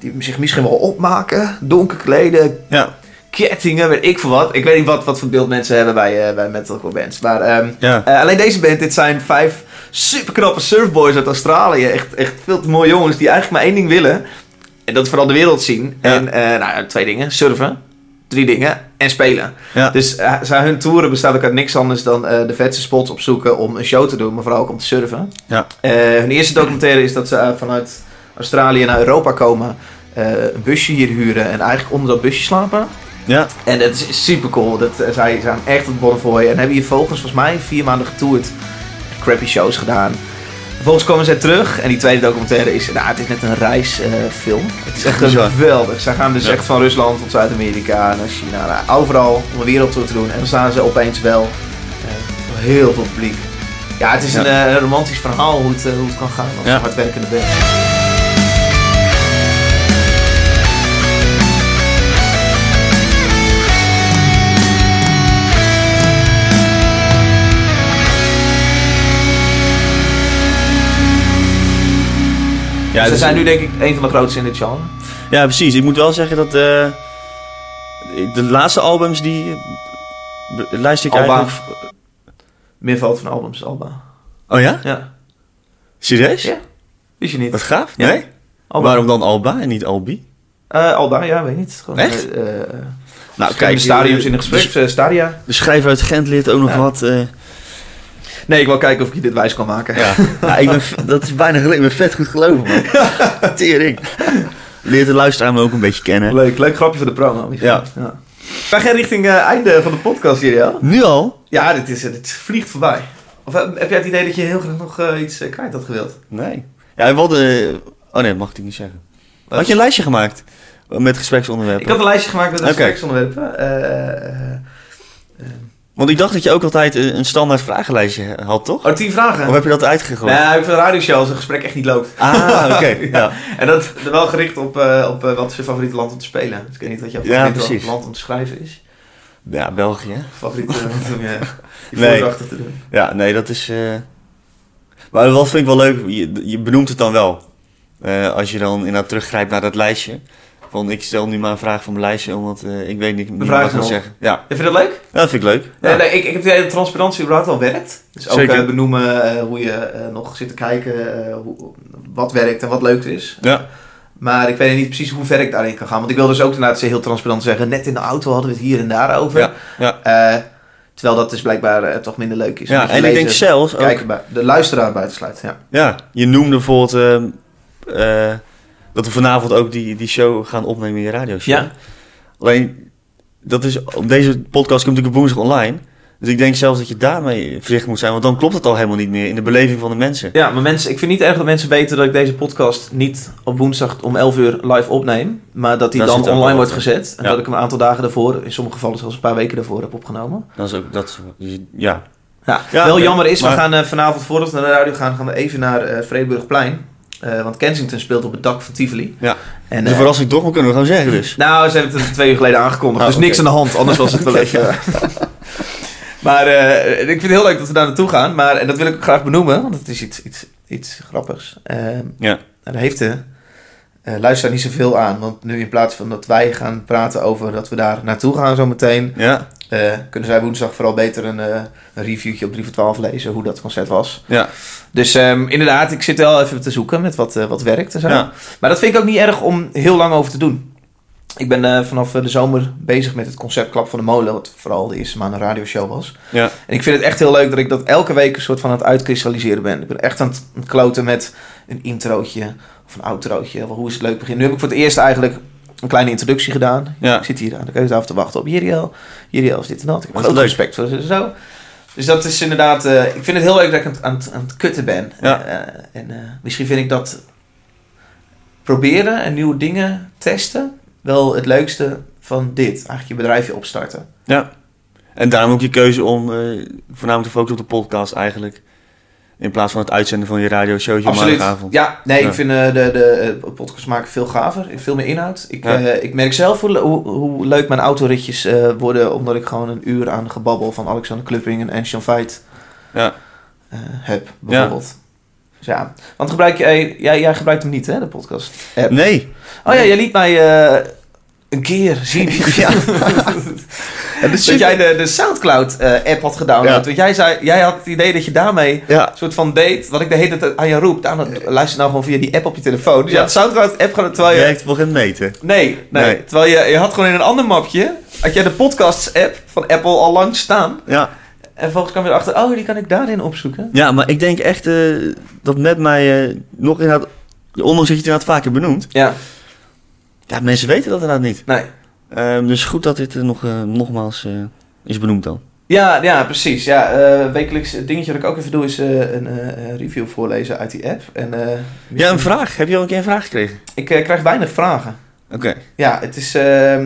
[SPEAKER 1] die zich misschien wel opmaken. Donker kleden,
[SPEAKER 2] Ja,
[SPEAKER 1] kettingen, weet ik veel wat. Ik weet niet wat, wat voor beeld mensen hebben bij, eh, bij metalcore bands. Maar ehm,
[SPEAKER 2] ja.
[SPEAKER 1] eh, alleen deze band, dit zijn vijf superknappe surfboys uit Australië. Echt, echt veel te mooie jongens die eigenlijk maar één ding willen. En dat is vooral de wereld zien.
[SPEAKER 2] Ja.
[SPEAKER 1] En eh, nou, ja, twee dingen, surfen. Drie dingen en spelen.
[SPEAKER 2] Ja.
[SPEAKER 1] Dus eh, zijn hun toeren bestaat ook uit niks anders dan eh, de vetste spots opzoeken om een show te doen, maar vooral ook om te surfen.
[SPEAKER 2] Ja.
[SPEAKER 1] Eh, hun eerste documentaire is dat ze eh, vanuit Australië naar Europa komen, eh, een busje hier huren en eigenlijk onder dat busje slapen.
[SPEAKER 2] ja.
[SPEAKER 1] En dat is super cool. Dat, eh, zij zijn echt op Bonnefoy. En hebben hier volgens volgens mij vier maanden getoerd. Crappy shows gedaan. Vervolgens komen zij terug. En die tweede documentaire is... Nou, het is net een reisfilm. het is echt een
[SPEAKER 2] bizar.
[SPEAKER 1] geweldig. Zij gaan dus
[SPEAKER 2] Ja.
[SPEAKER 1] echt van Rusland tot Zuid-Amerika naar China. nou, overal om een wereldtour te doen. En dan staan ze opeens wel eh, voor heel veel publiek. Ja, het is
[SPEAKER 2] Ja.
[SPEAKER 1] een eh, romantisch verhaal hoe het, eh, hoe het kan gaan als
[SPEAKER 2] Ja.
[SPEAKER 1] je hardwerkende bent.
[SPEAKER 2] ja
[SPEAKER 1] ze
[SPEAKER 2] dus-
[SPEAKER 1] zijn nu denk ik een van de grootste in dit genre.
[SPEAKER 2] Ja, precies. Ik moet wel zeggen dat eh, de laatste albums die eh, be- luister ik
[SPEAKER 1] Alba.
[SPEAKER 2] eigenlijk...
[SPEAKER 1] Meer valt van albums, Alba.
[SPEAKER 2] Oh ja?
[SPEAKER 1] Ja,
[SPEAKER 2] Serieus?
[SPEAKER 1] Ja. wist je niet.
[SPEAKER 2] Wat gaaf.
[SPEAKER 1] Ja.
[SPEAKER 2] Nee?
[SPEAKER 1] Alba.
[SPEAKER 2] Waarom dan Alba en niet Albi?
[SPEAKER 1] Eh, Alba, ja, weet ik niet. Gewoon,
[SPEAKER 2] Echt?
[SPEAKER 1] eh, eh,
[SPEAKER 2] Nou,
[SPEAKER 1] kijk, stadiums in een gesprek,
[SPEAKER 2] De,
[SPEAKER 1] eh, stadia.
[SPEAKER 2] de schrijver uit Gent leert ook nog
[SPEAKER 1] Ja.
[SPEAKER 2] wat. eh,
[SPEAKER 1] Nee, ik wil kijken of ik je dit wijs kan maken.
[SPEAKER 2] ja. Ja, ik ben, v- dat is bijna gelukt. Ik ben vet goed geloven, man. Tering. Leert de luisteraar me ook een beetje kennen.
[SPEAKER 1] Leuk, leuk grapje voor de promo.
[SPEAKER 2] Ja.
[SPEAKER 1] Wij gaan richting eh, einde van de podcast hier, ja?
[SPEAKER 2] Nu al?
[SPEAKER 1] Ja, dit, is, eh, dit vliegt voorbij. Of eh, heb jij het idee dat je heel graag nog eh, iets eh, kwijt had gewild?
[SPEAKER 2] Nee. Ja, we hadden... Oh nee, mag ik niet zeggen.
[SPEAKER 1] Wat?
[SPEAKER 2] Had je een lijstje gemaakt? Met gespreksonderwerpen?
[SPEAKER 1] Ik had een lijstje gemaakt met
[SPEAKER 2] Oké.
[SPEAKER 1] gespreksonderwerpen. Eh, eh,
[SPEAKER 2] Want ik dacht dat je ook altijd eh, een standaard vragenlijstje had, toch?
[SPEAKER 1] oh, tien vragen.
[SPEAKER 2] Of heb je dat uitgegooid?
[SPEAKER 1] Nee, ik vind een radioshow als een gesprek echt niet loopt.
[SPEAKER 2] Ah, oké.
[SPEAKER 1] Ja.
[SPEAKER 2] ja.
[SPEAKER 1] En dat wel gericht op, eh, op eh, wat is je favoriete land om te spelen. Dus ik weet niet wat jouw
[SPEAKER 2] Ja,
[SPEAKER 1] favoriete
[SPEAKER 2] precies.
[SPEAKER 1] land om te schrijven is.
[SPEAKER 2] ja, België.
[SPEAKER 1] Favoriete land om je, je
[SPEAKER 2] Nee.
[SPEAKER 1] voordrachten te doen.
[SPEAKER 2] Ja, nee, dat is... eh, Maar wat vind ik wel leuk, je, je benoemt het dan wel. Eh, als je dan inderdaad teruggrijpt naar dat lijstje. Van ik stel nu maar een vraag van mijn lijstje, omdat eh, ik weet niet, niet
[SPEAKER 1] vraag
[SPEAKER 2] wat ik
[SPEAKER 1] is
[SPEAKER 2] moet
[SPEAKER 1] nog.
[SPEAKER 2] zeggen. Ja,
[SPEAKER 1] Vind je dat leuk?
[SPEAKER 2] Ja, dat vind ik leuk. Ja.
[SPEAKER 1] Nee, nee, ik, ik heb het idee dat transparantie überhaupt al werkt. Dus ook
[SPEAKER 2] Zeker.
[SPEAKER 1] eh, benoemen eh, hoe je eh, nog zit te kijken eh, hoe, wat werkt en wat leuk is.
[SPEAKER 2] Ja.
[SPEAKER 1] Maar ik weet niet precies hoe ver ik daarin kan gaan. Want ik wil dus ook inderdaad heel transparant zeggen... net in de auto hadden we het hier en daar over.
[SPEAKER 2] Ja, ja.
[SPEAKER 1] Eh, terwijl dat dus blijkbaar eh, toch minder leuk is.
[SPEAKER 2] Ja,
[SPEAKER 1] Omdat je
[SPEAKER 2] en ik
[SPEAKER 1] lezer-
[SPEAKER 2] denk zelfs ook...
[SPEAKER 1] kijker bij- de luisteraar buiten sluit. Ja.
[SPEAKER 2] Ja, je noemde bijvoorbeeld... eh, eh, dat we vanavond ook die, die show gaan opnemen in je radioshow.
[SPEAKER 1] Ja.
[SPEAKER 2] Alleen, dat is, op deze podcast komt natuurlijk op woensdag online. Dus ik denk zelfs dat je daarmee voorzichtig moet zijn, want dan klopt het al helemaal niet meer in de beleving van de mensen.
[SPEAKER 1] Ja, maar mensen, ik vind niet erg dat mensen weten dat ik deze podcast niet op woensdag om 11 uur live opneem. Maar dat die
[SPEAKER 2] Daar
[SPEAKER 1] dan
[SPEAKER 2] zit ook
[SPEAKER 1] online
[SPEAKER 2] wel
[SPEAKER 1] wordt
[SPEAKER 2] wat
[SPEAKER 1] gezet. En
[SPEAKER 2] Ja.
[SPEAKER 1] dat ik hem een aantal dagen daarvoor, in sommige gevallen zelfs een paar weken daarvoor, heb opgenomen.
[SPEAKER 2] Dat is ook, dat is, dus ja.
[SPEAKER 1] Ja,
[SPEAKER 2] Ja,
[SPEAKER 1] wel
[SPEAKER 2] oké,
[SPEAKER 1] jammer is, we
[SPEAKER 2] maar-
[SPEAKER 1] gaan eh, vanavond voordat we naar de radio gaan, gaan we even naar eh Vredeburgplein. Eh, want Kensington speelt op het dak van Tivoli.
[SPEAKER 2] Ja.
[SPEAKER 1] En,
[SPEAKER 2] Dus
[SPEAKER 1] eh,
[SPEAKER 2] een verrassing toch, maar kunnen we gewoon zeggen dus.
[SPEAKER 1] Nou, ze hebben het twee uur geleden aangekondigd.
[SPEAKER 2] Oh,
[SPEAKER 1] dus niks aan
[SPEAKER 2] oké.
[SPEAKER 1] de hand, anders was het wel even. maar eh, ik vind het heel leuk dat we daar naartoe gaan. Maar, en dat wil ik ook graag benoemen, want het is iets, iets, iets grappigs. Ehm,
[SPEAKER 2] Ja.
[SPEAKER 1] daar heeft de eh luisteraar niet zoveel aan. Want nu in plaats van dat wij gaan praten over dat we daar naartoe gaan zometeen...
[SPEAKER 2] Ja,
[SPEAKER 1] eh, kunnen zij woensdag vooral beter een, eh, een reviewtje op 3 voor 12 lezen hoe dat concert was.
[SPEAKER 2] ja.
[SPEAKER 1] Dus ehm, inderdaad, ik zit wel even te zoeken met wat, eh, wat werkt en zo.
[SPEAKER 2] Ja.
[SPEAKER 1] Maar dat vind ik ook niet erg om heel lang over te doen. Ik ben eh, vanaf eh, de zomer bezig met het concept Klap van de Molen, wat vooral de eerste maand een radioshow was.
[SPEAKER 2] ja.
[SPEAKER 1] En ik vind het echt heel leuk dat ik dat elke week een soort van aan het uitkristalliseren ben. Ik ben echt aan het kloten met een introotje of een outrootje. Hoe is het leuk begin? Nu heb ik voor het eerst eigenlijk een kleine introductie gedaan.
[SPEAKER 2] Ja.
[SPEAKER 1] Ik zit hier aan de keukentafel te wachten op Jeriel. Jeriel is dit en dat. Ik heb
[SPEAKER 2] Wat
[SPEAKER 1] groot
[SPEAKER 2] leuk.
[SPEAKER 1] respect voor ze en zo. Dus dat is inderdaad... eh, ik vind het heel leuk dat ik aan het, aan het, aan het kutten ben.
[SPEAKER 2] Ja.
[SPEAKER 1] Eh, en eh, misschien vind ik dat proberen en nieuwe dingen testen... wel het leukste van dit. Eigenlijk je bedrijfje opstarten.
[SPEAKER 2] En daarom ook je keuze om eh, voornamelijk te focussen op de podcast eigenlijk. In plaats van het uitzenden van je radioshow op
[SPEAKER 1] Absoluut.
[SPEAKER 2] maandagavond.
[SPEAKER 1] Ja, nee,
[SPEAKER 2] Ja.
[SPEAKER 1] ik vind eh, de, de eh, podcast maken veel gaver. Veel meer inhoud. Ik,
[SPEAKER 2] Ja.
[SPEAKER 1] eh, ik merk zelf hoe, le- hoe, hoe leuk mijn autoritjes eh, worden. Omdat ik gewoon een uur aan gebabbel van Alexander Klupping en Sean Veit
[SPEAKER 2] Ja.
[SPEAKER 1] eh, heb, bijvoorbeeld. Dus ja. Want gebruik je, eh, jij, jij gebruikt hem niet, hè, de podcast? App.
[SPEAKER 2] Nee.
[SPEAKER 1] Oh ja, jij liet mij eh, een keer zien. ja. dat jij de, de Soundcloud-app had gedownload.
[SPEAKER 2] Ja.
[SPEAKER 1] Want jij, zei, jij had het idee dat je daarmee
[SPEAKER 2] Ja.
[SPEAKER 1] een soort van date, wat ik de hele tijd aan je roep. Daarna luister nou gewoon via die app op je telefoon. Dus je
[SPEAKER 2] Ja.
[SPEAKER 1] had Soundcloud-app gewoon terwijl je...
[SPEAKER 2] Werkt voor geen meter.
[SPEAKER 1] Nee, nee,
[SPEAKER 2] Nee.
[SPEAKER 1] Terwijl je, je had gewoon in een ander mapje, had jij de podcasts-app van Apple al lang staan.
[SPEAKER 2] Ja.
[SPEAKER 1] En volgens kwam je erachter, oh, die kan ik daarin opzoeken.
[SPEAKER 2] ja, maar ik denk echt eh, dat met mij eh, nog inderdaad... Ondanks dat je het inderdaad vaker benoemt.
[SPEAKER 1] Ja,
[SPEAKER 2] Ja, mensen weten dat inderdaad niet.
[SPEAKER 1] nee.
[SPEAKER 2] Ehm, dus goed dat dit eh, nog, eh, nogmaals eh, is benoemd dan.
[SPEAKER 1] Ja, ja, precies. Ja, eh, wekelijks dingetje wat ik ook even doe is eh, een eh, review voorlezen uit die app. En, eh,
[SPEAKER 2] Ja,
[SPEAKER 1] misschien-
[SPEAKER 2] een vraag. Heb je al een keer een vraag gekregen?
[SPEAKER 1] Ik eh, krijg weinig vragen.
[SPEAKER 2] Oké.
[SPEAKER 1] Ja, het, is, eh,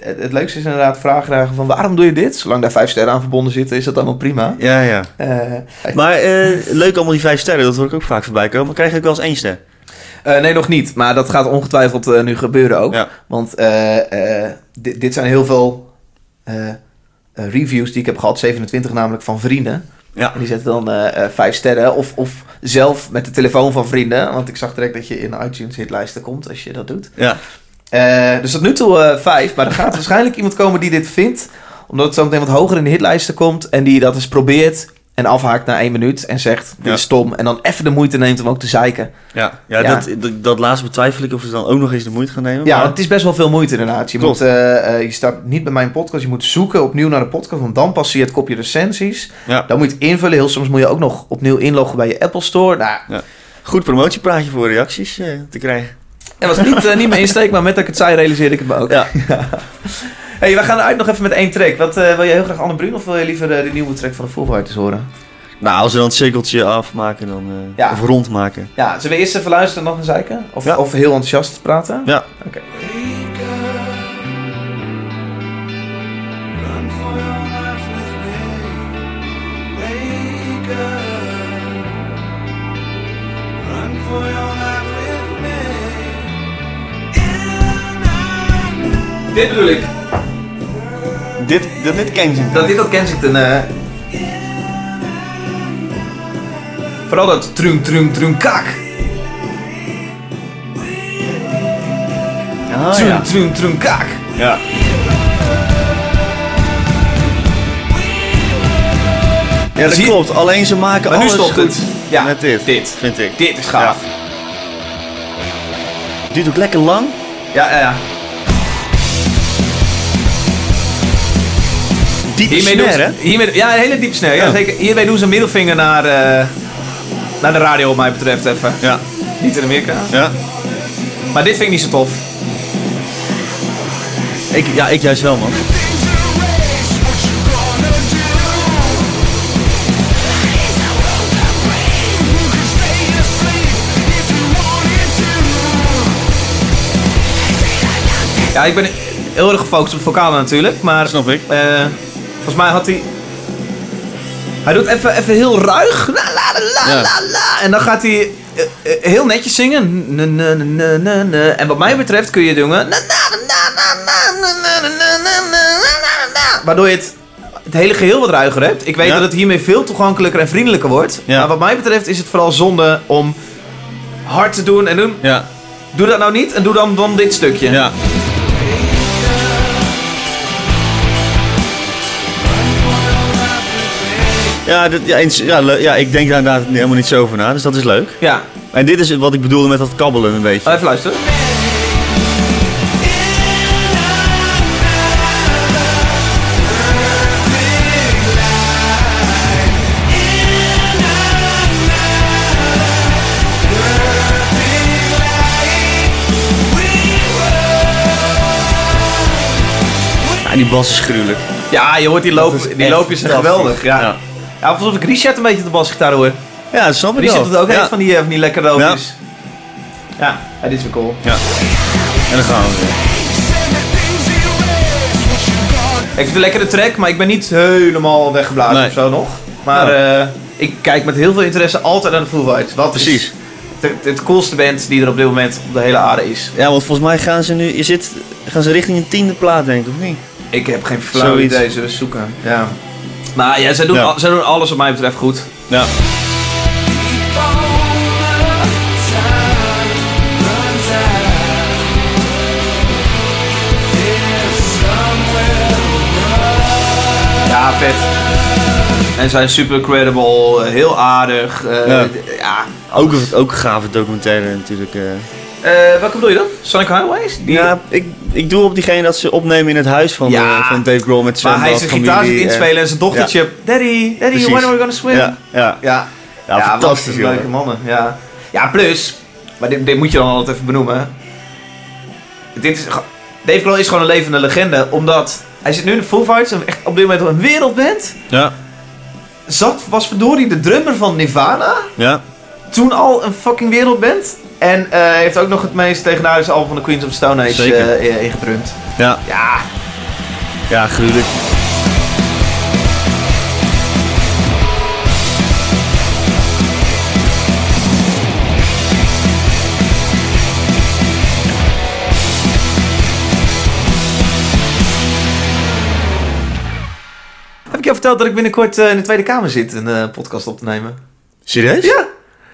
[SPEAKER 1] het, het leukste is inderdaad vragen vragen van waarom doe je dit? Zolang daar vijf sterren aan verbonden zitten, is dat allemaal prima.
[SPEAKER 2] Ja, ja.
[SPEAKER 1] Eh,
[SPEAKER 2] Maar eh, leuk allemaal die vijf sterren. Dat hoor ik ook vaak voorbij komen. Maar krijg ik ook wel eens één ster.
[SPEAKER 1] Eh, nee, nog niet. Maar dat gaat ongetwijfeld eh, nu gebeuren ook.
[SPEAKER 2] Ja.
[SPEAKER 1] Want eh, eh, dit, dit zijn heel veel eh, eh, reviews die ik heb gehad. 27 namelijk van vrienden.
[SPEAKER 2] Ja.
[SPEAKER 1] En die zetten dan eh, eh, vijf sterren. Of, of zelf met de telefoon van vrienden. Want ik zag direct dat je in iTunes hitlijsten komt als je dat doet.
[SPEAKER 2] Ja.
[SPEAKER 1] Eh, dus tot nu toe eh, vijf. Maar er gaat waarschijnlijk iemand komen die dit vindt. Omdat het zo meteen wat hoger in de hitlijsten komt. En die dat eens probeert. En afhaakt na één minuut. En zegt, dit
[SPEAKER 2] Ja.
[SPEAKER 1] is stom. En dan even de moeite neemt om ook te zeiken.
[SPEAKER 2] Ja, ja,
[SPEAKER 1] Ja.
[SPEAKER 2] Dat, dat, dat laatste betwijfel ik of ze dan ook nog eens de moeite gaan nemen.
[SPEAKER 1] Ja,
[SPEAKER 2] maar-
[SPEAKER 1] want het is best wel veel moeite inderdaad. Je,
[SPEAKER 2] Klopt.
[SPEAKER 1] moet, eh, eh, je staat niet bij mijn podcast. Je moet zoeken opnieuw naar de podcast. Want dan pas zie je het kopje recensies.
[SPEAKER 2] ja.
[SPEAKER 1] Dan moet je het invullen. Heel soms moet je ook nog opnieuw inloggen bij je Apple Store. Nou,
[SPEAKER 2] Goed promotiepraatje voor reacties eh, te krijgen.
[SPEAKER 1] dat was niet, eh, niet mijn insteek. Maar met dat ik het zei realiseerde ik het me ook.
[SPEAKER 2] Ja.
[SPEAKER 1] hey, we gaan eruit nog even met één track. Wat, eh, wil je heel graag Anne Bruun of wil je liever eh, de nieuwe track van de Foo Fighters horen?
[SPEAKER 2] Nou, als we dan het cirkeltje afmaken dan, eh,
[SPEAKER 1] Ja.
[SPEAKER 2] of rondmaken.
[SPEAKER 1] Ja, zullen we eerst even luisteren en dan gaan zeiken? Of,
[SPEAKER 2] Ja.
[SPEAKER 1] of heel enthousiast praten?
[SPEAKER 2] Ja.
[SPEAKER 1] Oké.
[SPEAKER 4] Wake up. Run for your life with me. Wake up. Run for your life with me.
[SPEAKER 1] Dit bedoel ik.
[SPEAKER 2] Dit, dat dit Kensington.
[SPEAKER 1] Dat dit dat Kensington... eh, Vooral dat trum trum trum kak.
[SPEAKER 2] Ah,
[SPEAKER 1] Trum,
[SPEAKER 2] ja.
[SPEAKER 1] trum, trum, kaak.
[SPEAKER 2] ja. Ja, dat
[SPEAKER 1] Zie-
[SPEAKER 2] klopt. Alleen ze maken
[SPEAKER 1] Maar nu
[SPEAKER 2] alles
[SPEAKER 1] stopt
[SPEAKER 2] goed
[SPEAKER 1] het. Ja,
[SPEAKER 2] met dit,
[SPEAKER 1] dit.
[SPEAKER 2] vind ik.
[SPEAKER 1] Dit is gaaf.
[SPEAKER 2] Het duurt ook lekker lang.
[SPEAKER 1] Ja, ja, ja.
[SPEAKER 2] Diep
[SPEAKER 1] Hiermee
[SPEAKER 2] snare,
[SPEAKER 1] doen ze,
[SPEAKER 2] hè? Oh.
[SPEAKER 1] hiermee, ja, een hele diepe snare. Ja,
[SPEAKER 2] Ja.
[SPEAKER 1] zeker. Hiermee doen ze een middelvinger naar, eh, naar de radio, wat mij betreft, even.
[SPEAKER 2] Ja.
[SPEAKER 1] Niet in Amerika.
[SPEAKER 2] Ja.
[SPEAKER 1] Maar dit vind ik niet zo tof.
[SPEAKER 2] Ik, ja, ik juist wel, man.
[SPEAKER 1] Ja, ik ben heel erg gefocust op vocalen natuurlijk, maar...
[SPEAKER 2] Snap ik.
[SPEAKER 1] eh, volgens mij had hij... Hij doet even, even heel ruig. La, la, la, la,
[SPEAKER 2] Ja.
[SPEAKER 1] la, la. En dan gaat hij eh, eh, heel netjes zingen. Ne, ne, ne, ne, ne, ne. En wat mij betreft kun je doen... eh, na, na, na, na, na, na, na, na, na, na, na, na, na. Waardoor je het, het hele geheel wat ruiger hebt. Ik weet
[SPEAKER 2] Ja.
[SPEAKER 1] dat het hiermee veel toegankelijker en vriendelijker wordt.
[SPEAKER 2] Ja.
[SPEAKER 1] Maar wat mij betreft is het vooral zonde om hard te doen en doen.
[SPEAKER 2] Ja.
[SPEAKER 1] Doe dat nou niet en doe dan, dan dit stukje.
[SPEAKER 2] Ja. Ja, dit, ja, eens- ja, le- ja, ik denk daar inderdaad helemaal niet zo over na, dus dat is leuk.
[SPEAKER 1] ja.
[SPEAKER 2] En dit is wat ik bedoelde met dat kabbelen een beetje.
[SPEAKER 1] Oh, Even luisteren.
[SPEAKER 2] Ja, en die bas is gruwelijk.
[SPEAKER 1] Ja, je hoort die,
[SPEAKER 2] Dat is
[SPEAKER 1] loop, Oh. die
[SPEAKER 2] echt
[SPEAKER 1] loopjes zijn
[SPEAKER 2] fantastisch.
[SPEAKER 1] geweldig. Ja.
[SPEAKER 2] Ja.
[SPEAKER 1] Ja. alsof ik Richard een beetje de basgitaar hoor.
[SPEAKER 2] Ja, dat snap ik wel.
[SPEAKER 1] Richard doet ook
[SPEAKER 2] ja.
[SPEAKER 1] echt van die, eh, van die lekkere loopjes. Ja. Ja. dit is weer cool.
[SPEAKER 2] Ja. En dan gaan we weer.
[SPEAKER 1] Ik vind het een lekkere track, maar ik ben niet helemaal weggeblazen
[SPEAKER 2] Nee.
[SPEAKER 1] of zo nog. Maar eh, ik kijk met heel veel interesse altijd naar de Foo Fighters. Wat is
[SPEAKER 2] Precies.
[SPEAKER 1] de- het coolste band die er op dit moment op de hele aarde is.
[SPEAKER 2] Ja, want volgens mij gaan ze nu, je zit, gaan ze richting een tiende plaat denk ik, of niet?
[SPEAKER 1] Ik heb geen flauw
[SPEAKER 2] Zoiets.
[SPEAKER 1] idee, zullen we zoeken. Ja. Maar ja, zij doen,
[SPEAKER 2] Ja.
[SPEAKER 1] al- zij doen alles wat mij betreft goed.
[SPEAKER 2] Ja.
[SPEAKER 1] Ja, vet. En zijn super credible, eh, heel aardig. eh,
[SPEAKER 2] Ja.
[SPEAKER 1] d- ja.
[SPEAKER 2] Ook, een- ook een gave documentaire natuurlijk. eh.
[SPEAKER 1] Eh, welke bedoel je dan? Sonic Highways? Die-
[SPEAKER 2] Ja, ik, ik doe op diegene dat ze opnemen in het huis van,
[SPEAKER 1] Ja.
[SPEAKER 2] eh, van Dave Grohl met zijn
[SPEAKER 1] waar hij
[SPEAKER 2] bas,
[SPEAKER 1] zijn gitaar zit
[SPEAKER 2] familie, eh.
[SPEAKER 1] inspelen en zijn dochtertje... Daddy, daddy,
[SPEAKER 2] Precies.
[SPEAKER 1] when are we gonna swim?
[SPEAKER 2] Ja, ja.
[SPEAKER 1] ja.
[SPEAKER 2] Ja,
[SPEAKER 1] wat
[SPEAKER 2] fantastisch,
[SPEAKER 1] een
[SPEAKER 2] joh.
[SPEAKER 1] leuke mannen, ja. Ja, plus... Maar dit, dit moet je dan altijd even benoemen. Dit is... ge- Dave Grohl is gewoon een levende legende, omdat... Hij zit nu in de Foo Fighters, een- echt op dit moment een wereldband.
[SPEAKER 2] Ja,
[SPEAKER 1] Zat, was verdorie de drummer van Nirvana.
[SPEAKER 2] ja.
[SPEAKER 1] toen al een fucking wereldband. En eh, hij heeft ook nog het meest legendarische album van de Queens of the Stone Age
[SPEAKER 2] Zeker.
[SPEAKER 1] eh, eh, ingedrumd.
[SPEAKER 2] Ja,
[SPEAKER 1] Ja,
[SPEAKER 2] ja, gruwelijk.
[SPEAKER 1] heb ik je al verteld dat ik binnenkort eh, in de Tweede Kamer zit een eh, podcast op te nemen?
[SPEAKER 2] Serieus?
[SPEAKER 1] Ja,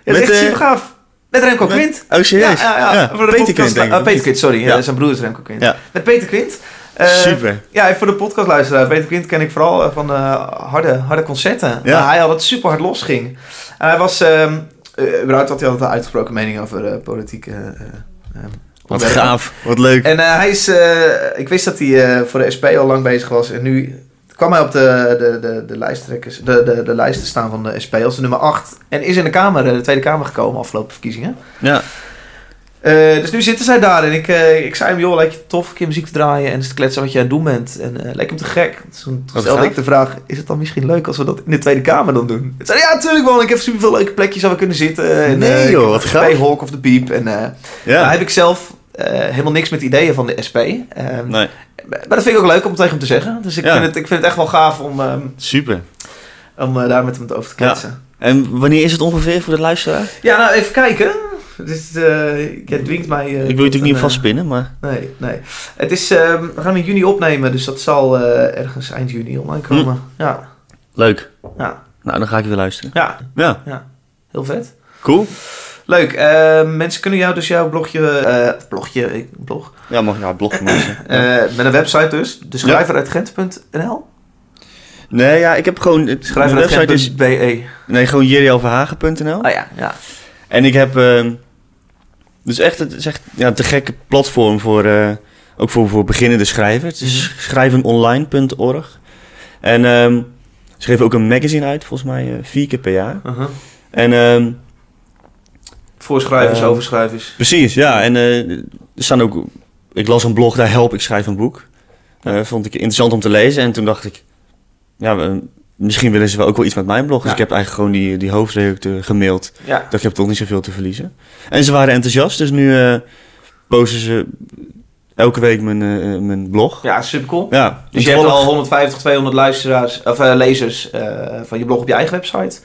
[SPEAKER 1] ja dat is
[SPEAKER 2] Met,
[SPEAKER 1] echt
[SPEAKER 2] eh,
[SPEAKER 1] super gaaf. Met Remco Quint.
[SPEAKER 2] Oh, serieus?
[SPEAKER 1] Ja, ja, ja.
[SPEAKER 2] Ja,
[SPEAKER 1] Voor de
[SPEAKER 2] Peter
[SPEAKER 1] podcast-
[SPEAKER 2] Quint, denk ik.
[SPEAKER 1] Ah, Peter Quint, sorry.
[SPEAKER 2] Ja.
[SPEAKER 1] Ja. zijn broer is Remco Quint.
[SPEAKER 2] Ja.
[SPEAKER 1] Met Peter Quint. Eh,
[SPEAKER 2] Super.
[SPEAKER 1] Ja, en voor de podcastluisteraar. Peter Quint ken ik vooral eh, van eh, harde, harde concerten.
[SPEAKER 2] Ja.
[SPEAKER 1] Waar hij altijd super hard losging. En hij was... ehm eh, überhaupt had hij altijd een uitgesproken mening over eh, politieke... eh, eh,
[SPEAKER 2] Wat
[SPEAKER 1] onderwerpen.
[SPEAKER 2] gaaf, wat leuk.
[SPEAKER 1] En eh, hij is... eh, ik wist dat hij eh, voor de SP al lang bezig was. En nu kwam hij op de, de, de, de, lijsttrekkers, de, de, de lijst te staan van de SP als de nummer 8. En is in de Kamer, eh, de Tweede Kamer gekomen afgelopen verkiezingen.
[SPEAKER 2] Ja,
[SPEAKER 1] Eh, dus nu zitten zij daar en ik, eh, ik zei hem, joh, lijkt je tof een keer muziek te draaien en eens te kletsen wat je aan het doen bent. En eh, lijkt hem te gek. Toen
[SPEAKER 2] Wat
[SPEAKER 1] stelde
[SPEAKER 2] gaaf.
[SPEAKER 1] ik de vraag, is het dan misschien leuk als we dat in de Tweede Kamer dan doen? Het zei, hij, ja, natuurlijk man, ik heb superveel leuke plekjes waar we kunnen zitten. En,
[SPEAKER 2] Nee,
[SPEAKER 1] eh,
[SPEAKER 2] joh, wat gaaf.
[SPEAKER 1] Bij Hawk of de Piep. En eh, daar
[SPEAKER 2] ja.
[SPEAKER 1] heb ik zelf eh, helemaal niks met ideeën van de SP. Ehm,
[SPEAKER 2] Nee,
[SPEAKER 1] Maar dat vind ik ook leuk om tegen hem te zeggen. Dus ik,
[SPEAKER 2] Ja.
[SPEAKER 1] vind, het, ik vind het echt wel gaaf om, ehm,
[SPEAKER 2] super.
[SPEAKER 1] om eh, daar met hem over te
[SPEAKER 2] Ja.
[SPEAKER 1] kletsen.
[SPEAKER 2] En wanneer is het ongeveer voor de luisteraar?
[SPEAKER 1] Ja, nou even kijken. Dus, eh jij dwingt mij... eh,
[SPEAKER 2] Ik wil je
[SPEAKER 1] tot
[SPEAKER 2] natuurlijk niet
[SPEAKER 1] een, eh,
[SPEAKER 2] vastpinnen, maar...
[SPEAKER 1] Nee, nee. Het is, ehm, we gaan hem in juni opnemen, dus dat zal eh, ergens eind juni online komen.
[SPEAKER 2] Hm.
[SPEAKER 1] Ja,
[SPEAKER 2] Leuk.
[SPEAKER 1] ja,
[SPEAKER 2] Nou, dan ga ik weer luisteren.
[SPEAKER 1] ja,
[SPEAKER 2] Ja,
[SPEAKER 1] heel vet.
[SPEAKER 2] cool.
[SPEAKER 1] Leuk, ehm, mensen kunnen jou dus jouw blogje, eh, of blogje, ik- nou blog,
[SPEAKER 2] Ja, mag ja, blog maken.
[SPEAKER 1] eh, met een website dus, de schrijver uit Gent.nl.
[SPEAKER 2] Nee, ja, ik heb gewoon... Het,
[SPEAKER 1] Schrijver
[SPEAKER 2] mijn
[SPEAKER 1] uit
[SPEAKER 2] website is... Oh.
[SPEAKER 1] Gent.be.
[SPEAKER 2] Nee, gewoon jerryoverhagen.nl.
[SPEAKER 1] E. Ah ja, ja.
[SPEAKER 2] En ik heb... ehm, dus echt, het is echt ja, te gekke platform voor... eh, ook voor, voor beginnende schrijvers. Het is schrijvenonline.org. En ehm, ze Uh-huh. geven ook een magazine uit, volgens mij eh, vier keer per jaar.
[SPEAKER 1] Uh-huh.
[SPEAKER 2] En ehm,
[SPEAKER 1] Voorschrijvers,
[SPEAKER 2] Eh,
[SPEAKER 1] overschrijvers.
[SPEAKER 2] Precies, ja. En eh, er staan ook... Ik las een blog, daar help, ik schrijf een boek. Eh, vond ik interessant om te lezen. En toen dacht ik, ja, we- misschien willen ze wel ook wel iets met mijn blog. Dus
[SPEAKER 1] Ja.
[SPEAKER 2] ik heb eigenlijk gewoon die, die hoofdredacteur gemaild.
[SPEAKER 1] Ja.
[SPEAKER 2] Dat ik heb toch niet zoveel te verliezen. En ze waren enthousiast, dus nu eh, posten ze elke week mijn, eh, mijn blog.
[SPEAKER 1] ja, supercool.
[SPEAKER 2] Ja,
[SPEAKER 1] Dus
[SPEAKER 2] en
[SPEAKER 1] je hebt
[SPEAKER 2] toevallig-
[SPEAKER 1] al 150, 200 luisteraars, of, eh, lezers eh, van je blog op je eigen website.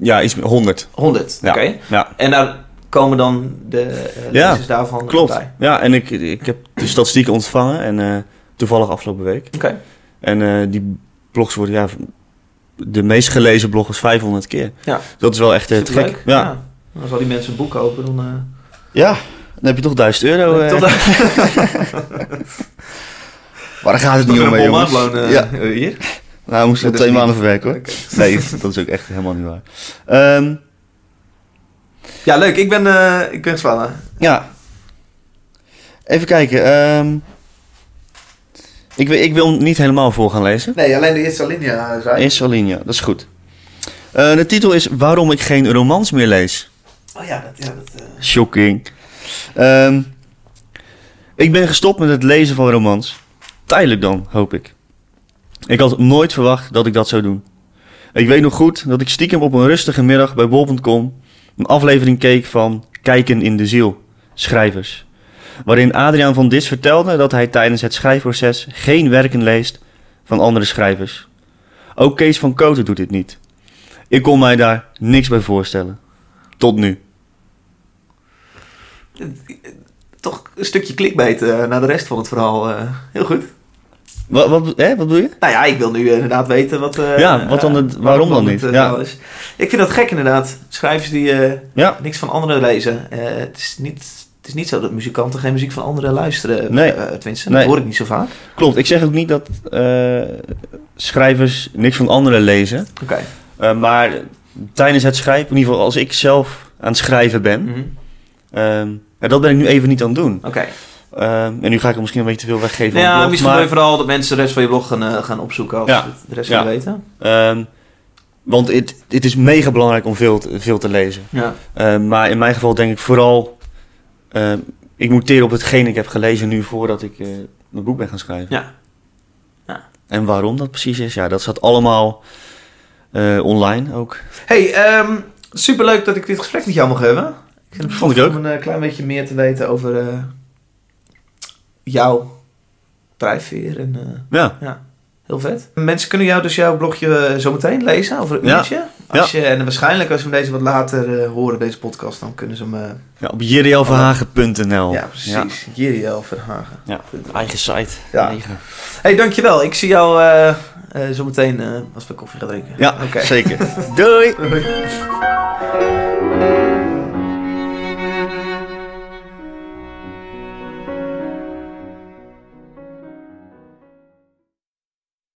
[SPEAKER 2] Ja, iets meer, 100.
[SPEAKER 1] 100,
[SPEAKER 2] Ja.
[SPEAKER 1] oké.
[SPEAKER 2] Ja,
[SPEAKER 1] En daar komen dan de eh,
[SPEAKER 2] Ja,
[SPEAKER 1] lezers daarvan
[SPEAKER 2] klopt.
[SPEAKER 1] bij.
[SPEAKER 2] Ja, en ik, ik heb de statistieken ontvangen en eh, toevallig afgelopen week.
[SPEAKER 1] Oké,
[SPEAKER 2] En eh, die blogs worden, ja, de meest gelezen blog was 500 keer.
[SPEAKER 1] Ja.
[SPEAKER 2] Dat is wel echt eh,
[SPEAKER 1] is
[SPEAKER 2] te
[SPEAKER 1] het
[SPEAKER 2] gek.
[SPEAKER 1] leuk?
[SPEAKER 2] Ja.
[SPEAKER 1] Als al die mensen een boek kopen, dan... eh,
[SPEAKER 2] ja, dan heb je toch 1000 euro. eh.
[SPEAKER 1] tot-
[SPEAKER 2] Maar daar gaat het
[SPEAKER 1] tot
[SPEAKER 2] niet
[SPEAKER 1] een
[SPEAKER 2] om, hè,
[SPEAKER 1] bol
[SPEAKER 2] jongens.
[SPEAKER 1] maatloon, eh,
[SPEAKER 2] Ja.
[SPEAKER 1] hier.
[SPEAKER 2] Nou, we moesten
[SPEAKER 1] Ja,
[SPEAKER 2] nog
[SPEAKER 1] dat
[SPEAKER 2] twee
[SPEAKER 1] is
[SPEAKER 2] maanden verwerken hoor. Nee, dat is ook echt helemaal niet waar. Ehm,
[SPEAKER 1] Ja, leuk. Ik ben, eh, ik ben gespannen.
[SPEAKER 2] ja. Even kijken. ehm, ik, wil- ik wil hem niet helemaal voor gaan lezen.
[SPEAKER 1] Nee, alleen de eerste eh, alinea zijn.
[SPEAKER 2] Eerst Alinea, dat is goed. Eh, de titel is Waarom ik geen romans meer lees.
[SPEAKER 1] Oh ja, dat... Ja, dat eh,
[SPEAKER 2] Shocking. Ehm, ik ben gestopt met het lezen van romans. Tijdelijk dan, hoop ik. Ik had nooit verwacht dat ik dat zou doen. Ik weet nog goed dat ik stiekem op een rustige middag bij bol.com een aflevering keek van Kijken in de ziel, schrijvers. Waarin Adriaan van Dis vertelde dat hij tijdens het schrijfproces geen werken leest van andere schrijvers. Ook Kees van Koten doet dit niet. Ik kon mij daar niks bij voorstellen. Tot nu.
[SPEAKER 1] Eh, toch een stukje clickbait eh, naar de rest van het verhaal. eh, heel goed.
[SPEAKER 2] Wat, wat, hè, wat bedoel je?
[SPEAKER 1] Nou ja, ik wil nu eh, inderdaad weten wat... eh,
[SPEAKER 2] Ja, wat dan
[SPEAKER 1] eh,
[SPEAKER 2] het- waarom dan niet?
[SPEAKER 1] het, eh,
[SPEAKER 2] Ja.
[SPEAKER 1] wel is. Ik vind dat gek inderdaad. Schrijvers die eh,
[SPEAKER 2] Ja.
[SPEAKER 1] niks van anderen lezen. Eh, het, is niet, het is niet zo dat muzikanten geen muziek van anderen luisteren.
[SPEAKER 2] Nee.
[SPEAKER 1] eh, tenminste,
[SPEAKER 2] Nee.
[SPEAKER 1] dat hoor ik niet zo vaak.
[SPEAKER 2] Klopt, ik zeg ook niet dat eh, schrijvers niks van anderen lezen.
[SPEAKER 1] Oké.
[SPEAKER 2] Eh, maar tijdens het schrijven, in ieder geval als ik zelf aan het schrijven ben,
[SPEAKER 1] Mhm.
[SPEAKER 2] ehm, ja, dat ben ik nu even niet aan het doen.
[SPEAKER 1] Oké.
[SPEAKER 2] Ehm, en nu ga ik er misschien een beetje te veel weggeven.
[SPEAKER 1] Nou
[SPEAKER 2] aan het
[SPEAKER 1] ja,
[SPEAKER 2] blog,
[SPEAKER 1] misschien
[SPEAKER 2] maar,
[SPEAKER 1] wil je vooral dat mensen de rest van je blog gaan, eh, gaan opzoeken als
[SPEAKER 2] Ja.
[SPEAKER 1] ze het de rest
[SPEAKER 2] Ja.
[SPEAKER 1] willen weten.
[SPEAKER 2] ehm, Want het, het is mega belangrijk om veel te, veel te lezen.
[SPEAKER 1] Ja.
[SPEAKER 2] Ehm, maar in mijn geval denk ik vooral, ehm, ik moet teren op hetgeen ik heb gelezen nu voordat ik eh, mijn boek ben gaan schrijven.
[SPEAKER 1] Ja. Ja.
[SPEAKER 2] En waarom dat precies is, ja, dat staat allemaal eh, online ook.
[SPEAKER 1] Hey, ehm, superleuk dat ik dit gesprek met jou mag hebben. Ik vind het
[SPEAKER 2] Vond ik
[SPEAKER 1] goed
[SPEAKER 2] ook.
[SPEAKER 1] Om een eh, klein beetje meer te weten over eh, jouw drijfveer en eh,
[SPEAKER 2] Ja,
[SPEAKER 1] heel vet. Mensen kunnen jou dus jouw blogje eh, zometeen lezen over een
[SPEAKER 2] Ja.
[SPEAKER 1] uurtje. Als je, en waarschijnlijk als we deze wat later eh, horen, deze podcast, dan kunnen ze hem... eh,
[SPEAKER 2] ja op jirielverhagen.nl.
[SPEAKER 1] ja, precies. Jiriel Verhagen.
[SPEAKER 2] Ja. Eigen site.
[SPEAKER 1] Ja.
[SPEAKER 2] Eigen.
[SPEAKER 1] Hey, dankjewel. Ik zie jou eh eh, zometeen eh, als we koffie gaan drinken.
[SPEAKER 2] Ja,
[SPEAKER 1] Oké.
[SPEAKER 2] zeker. Doei!
[SPEAKER 1] Doei.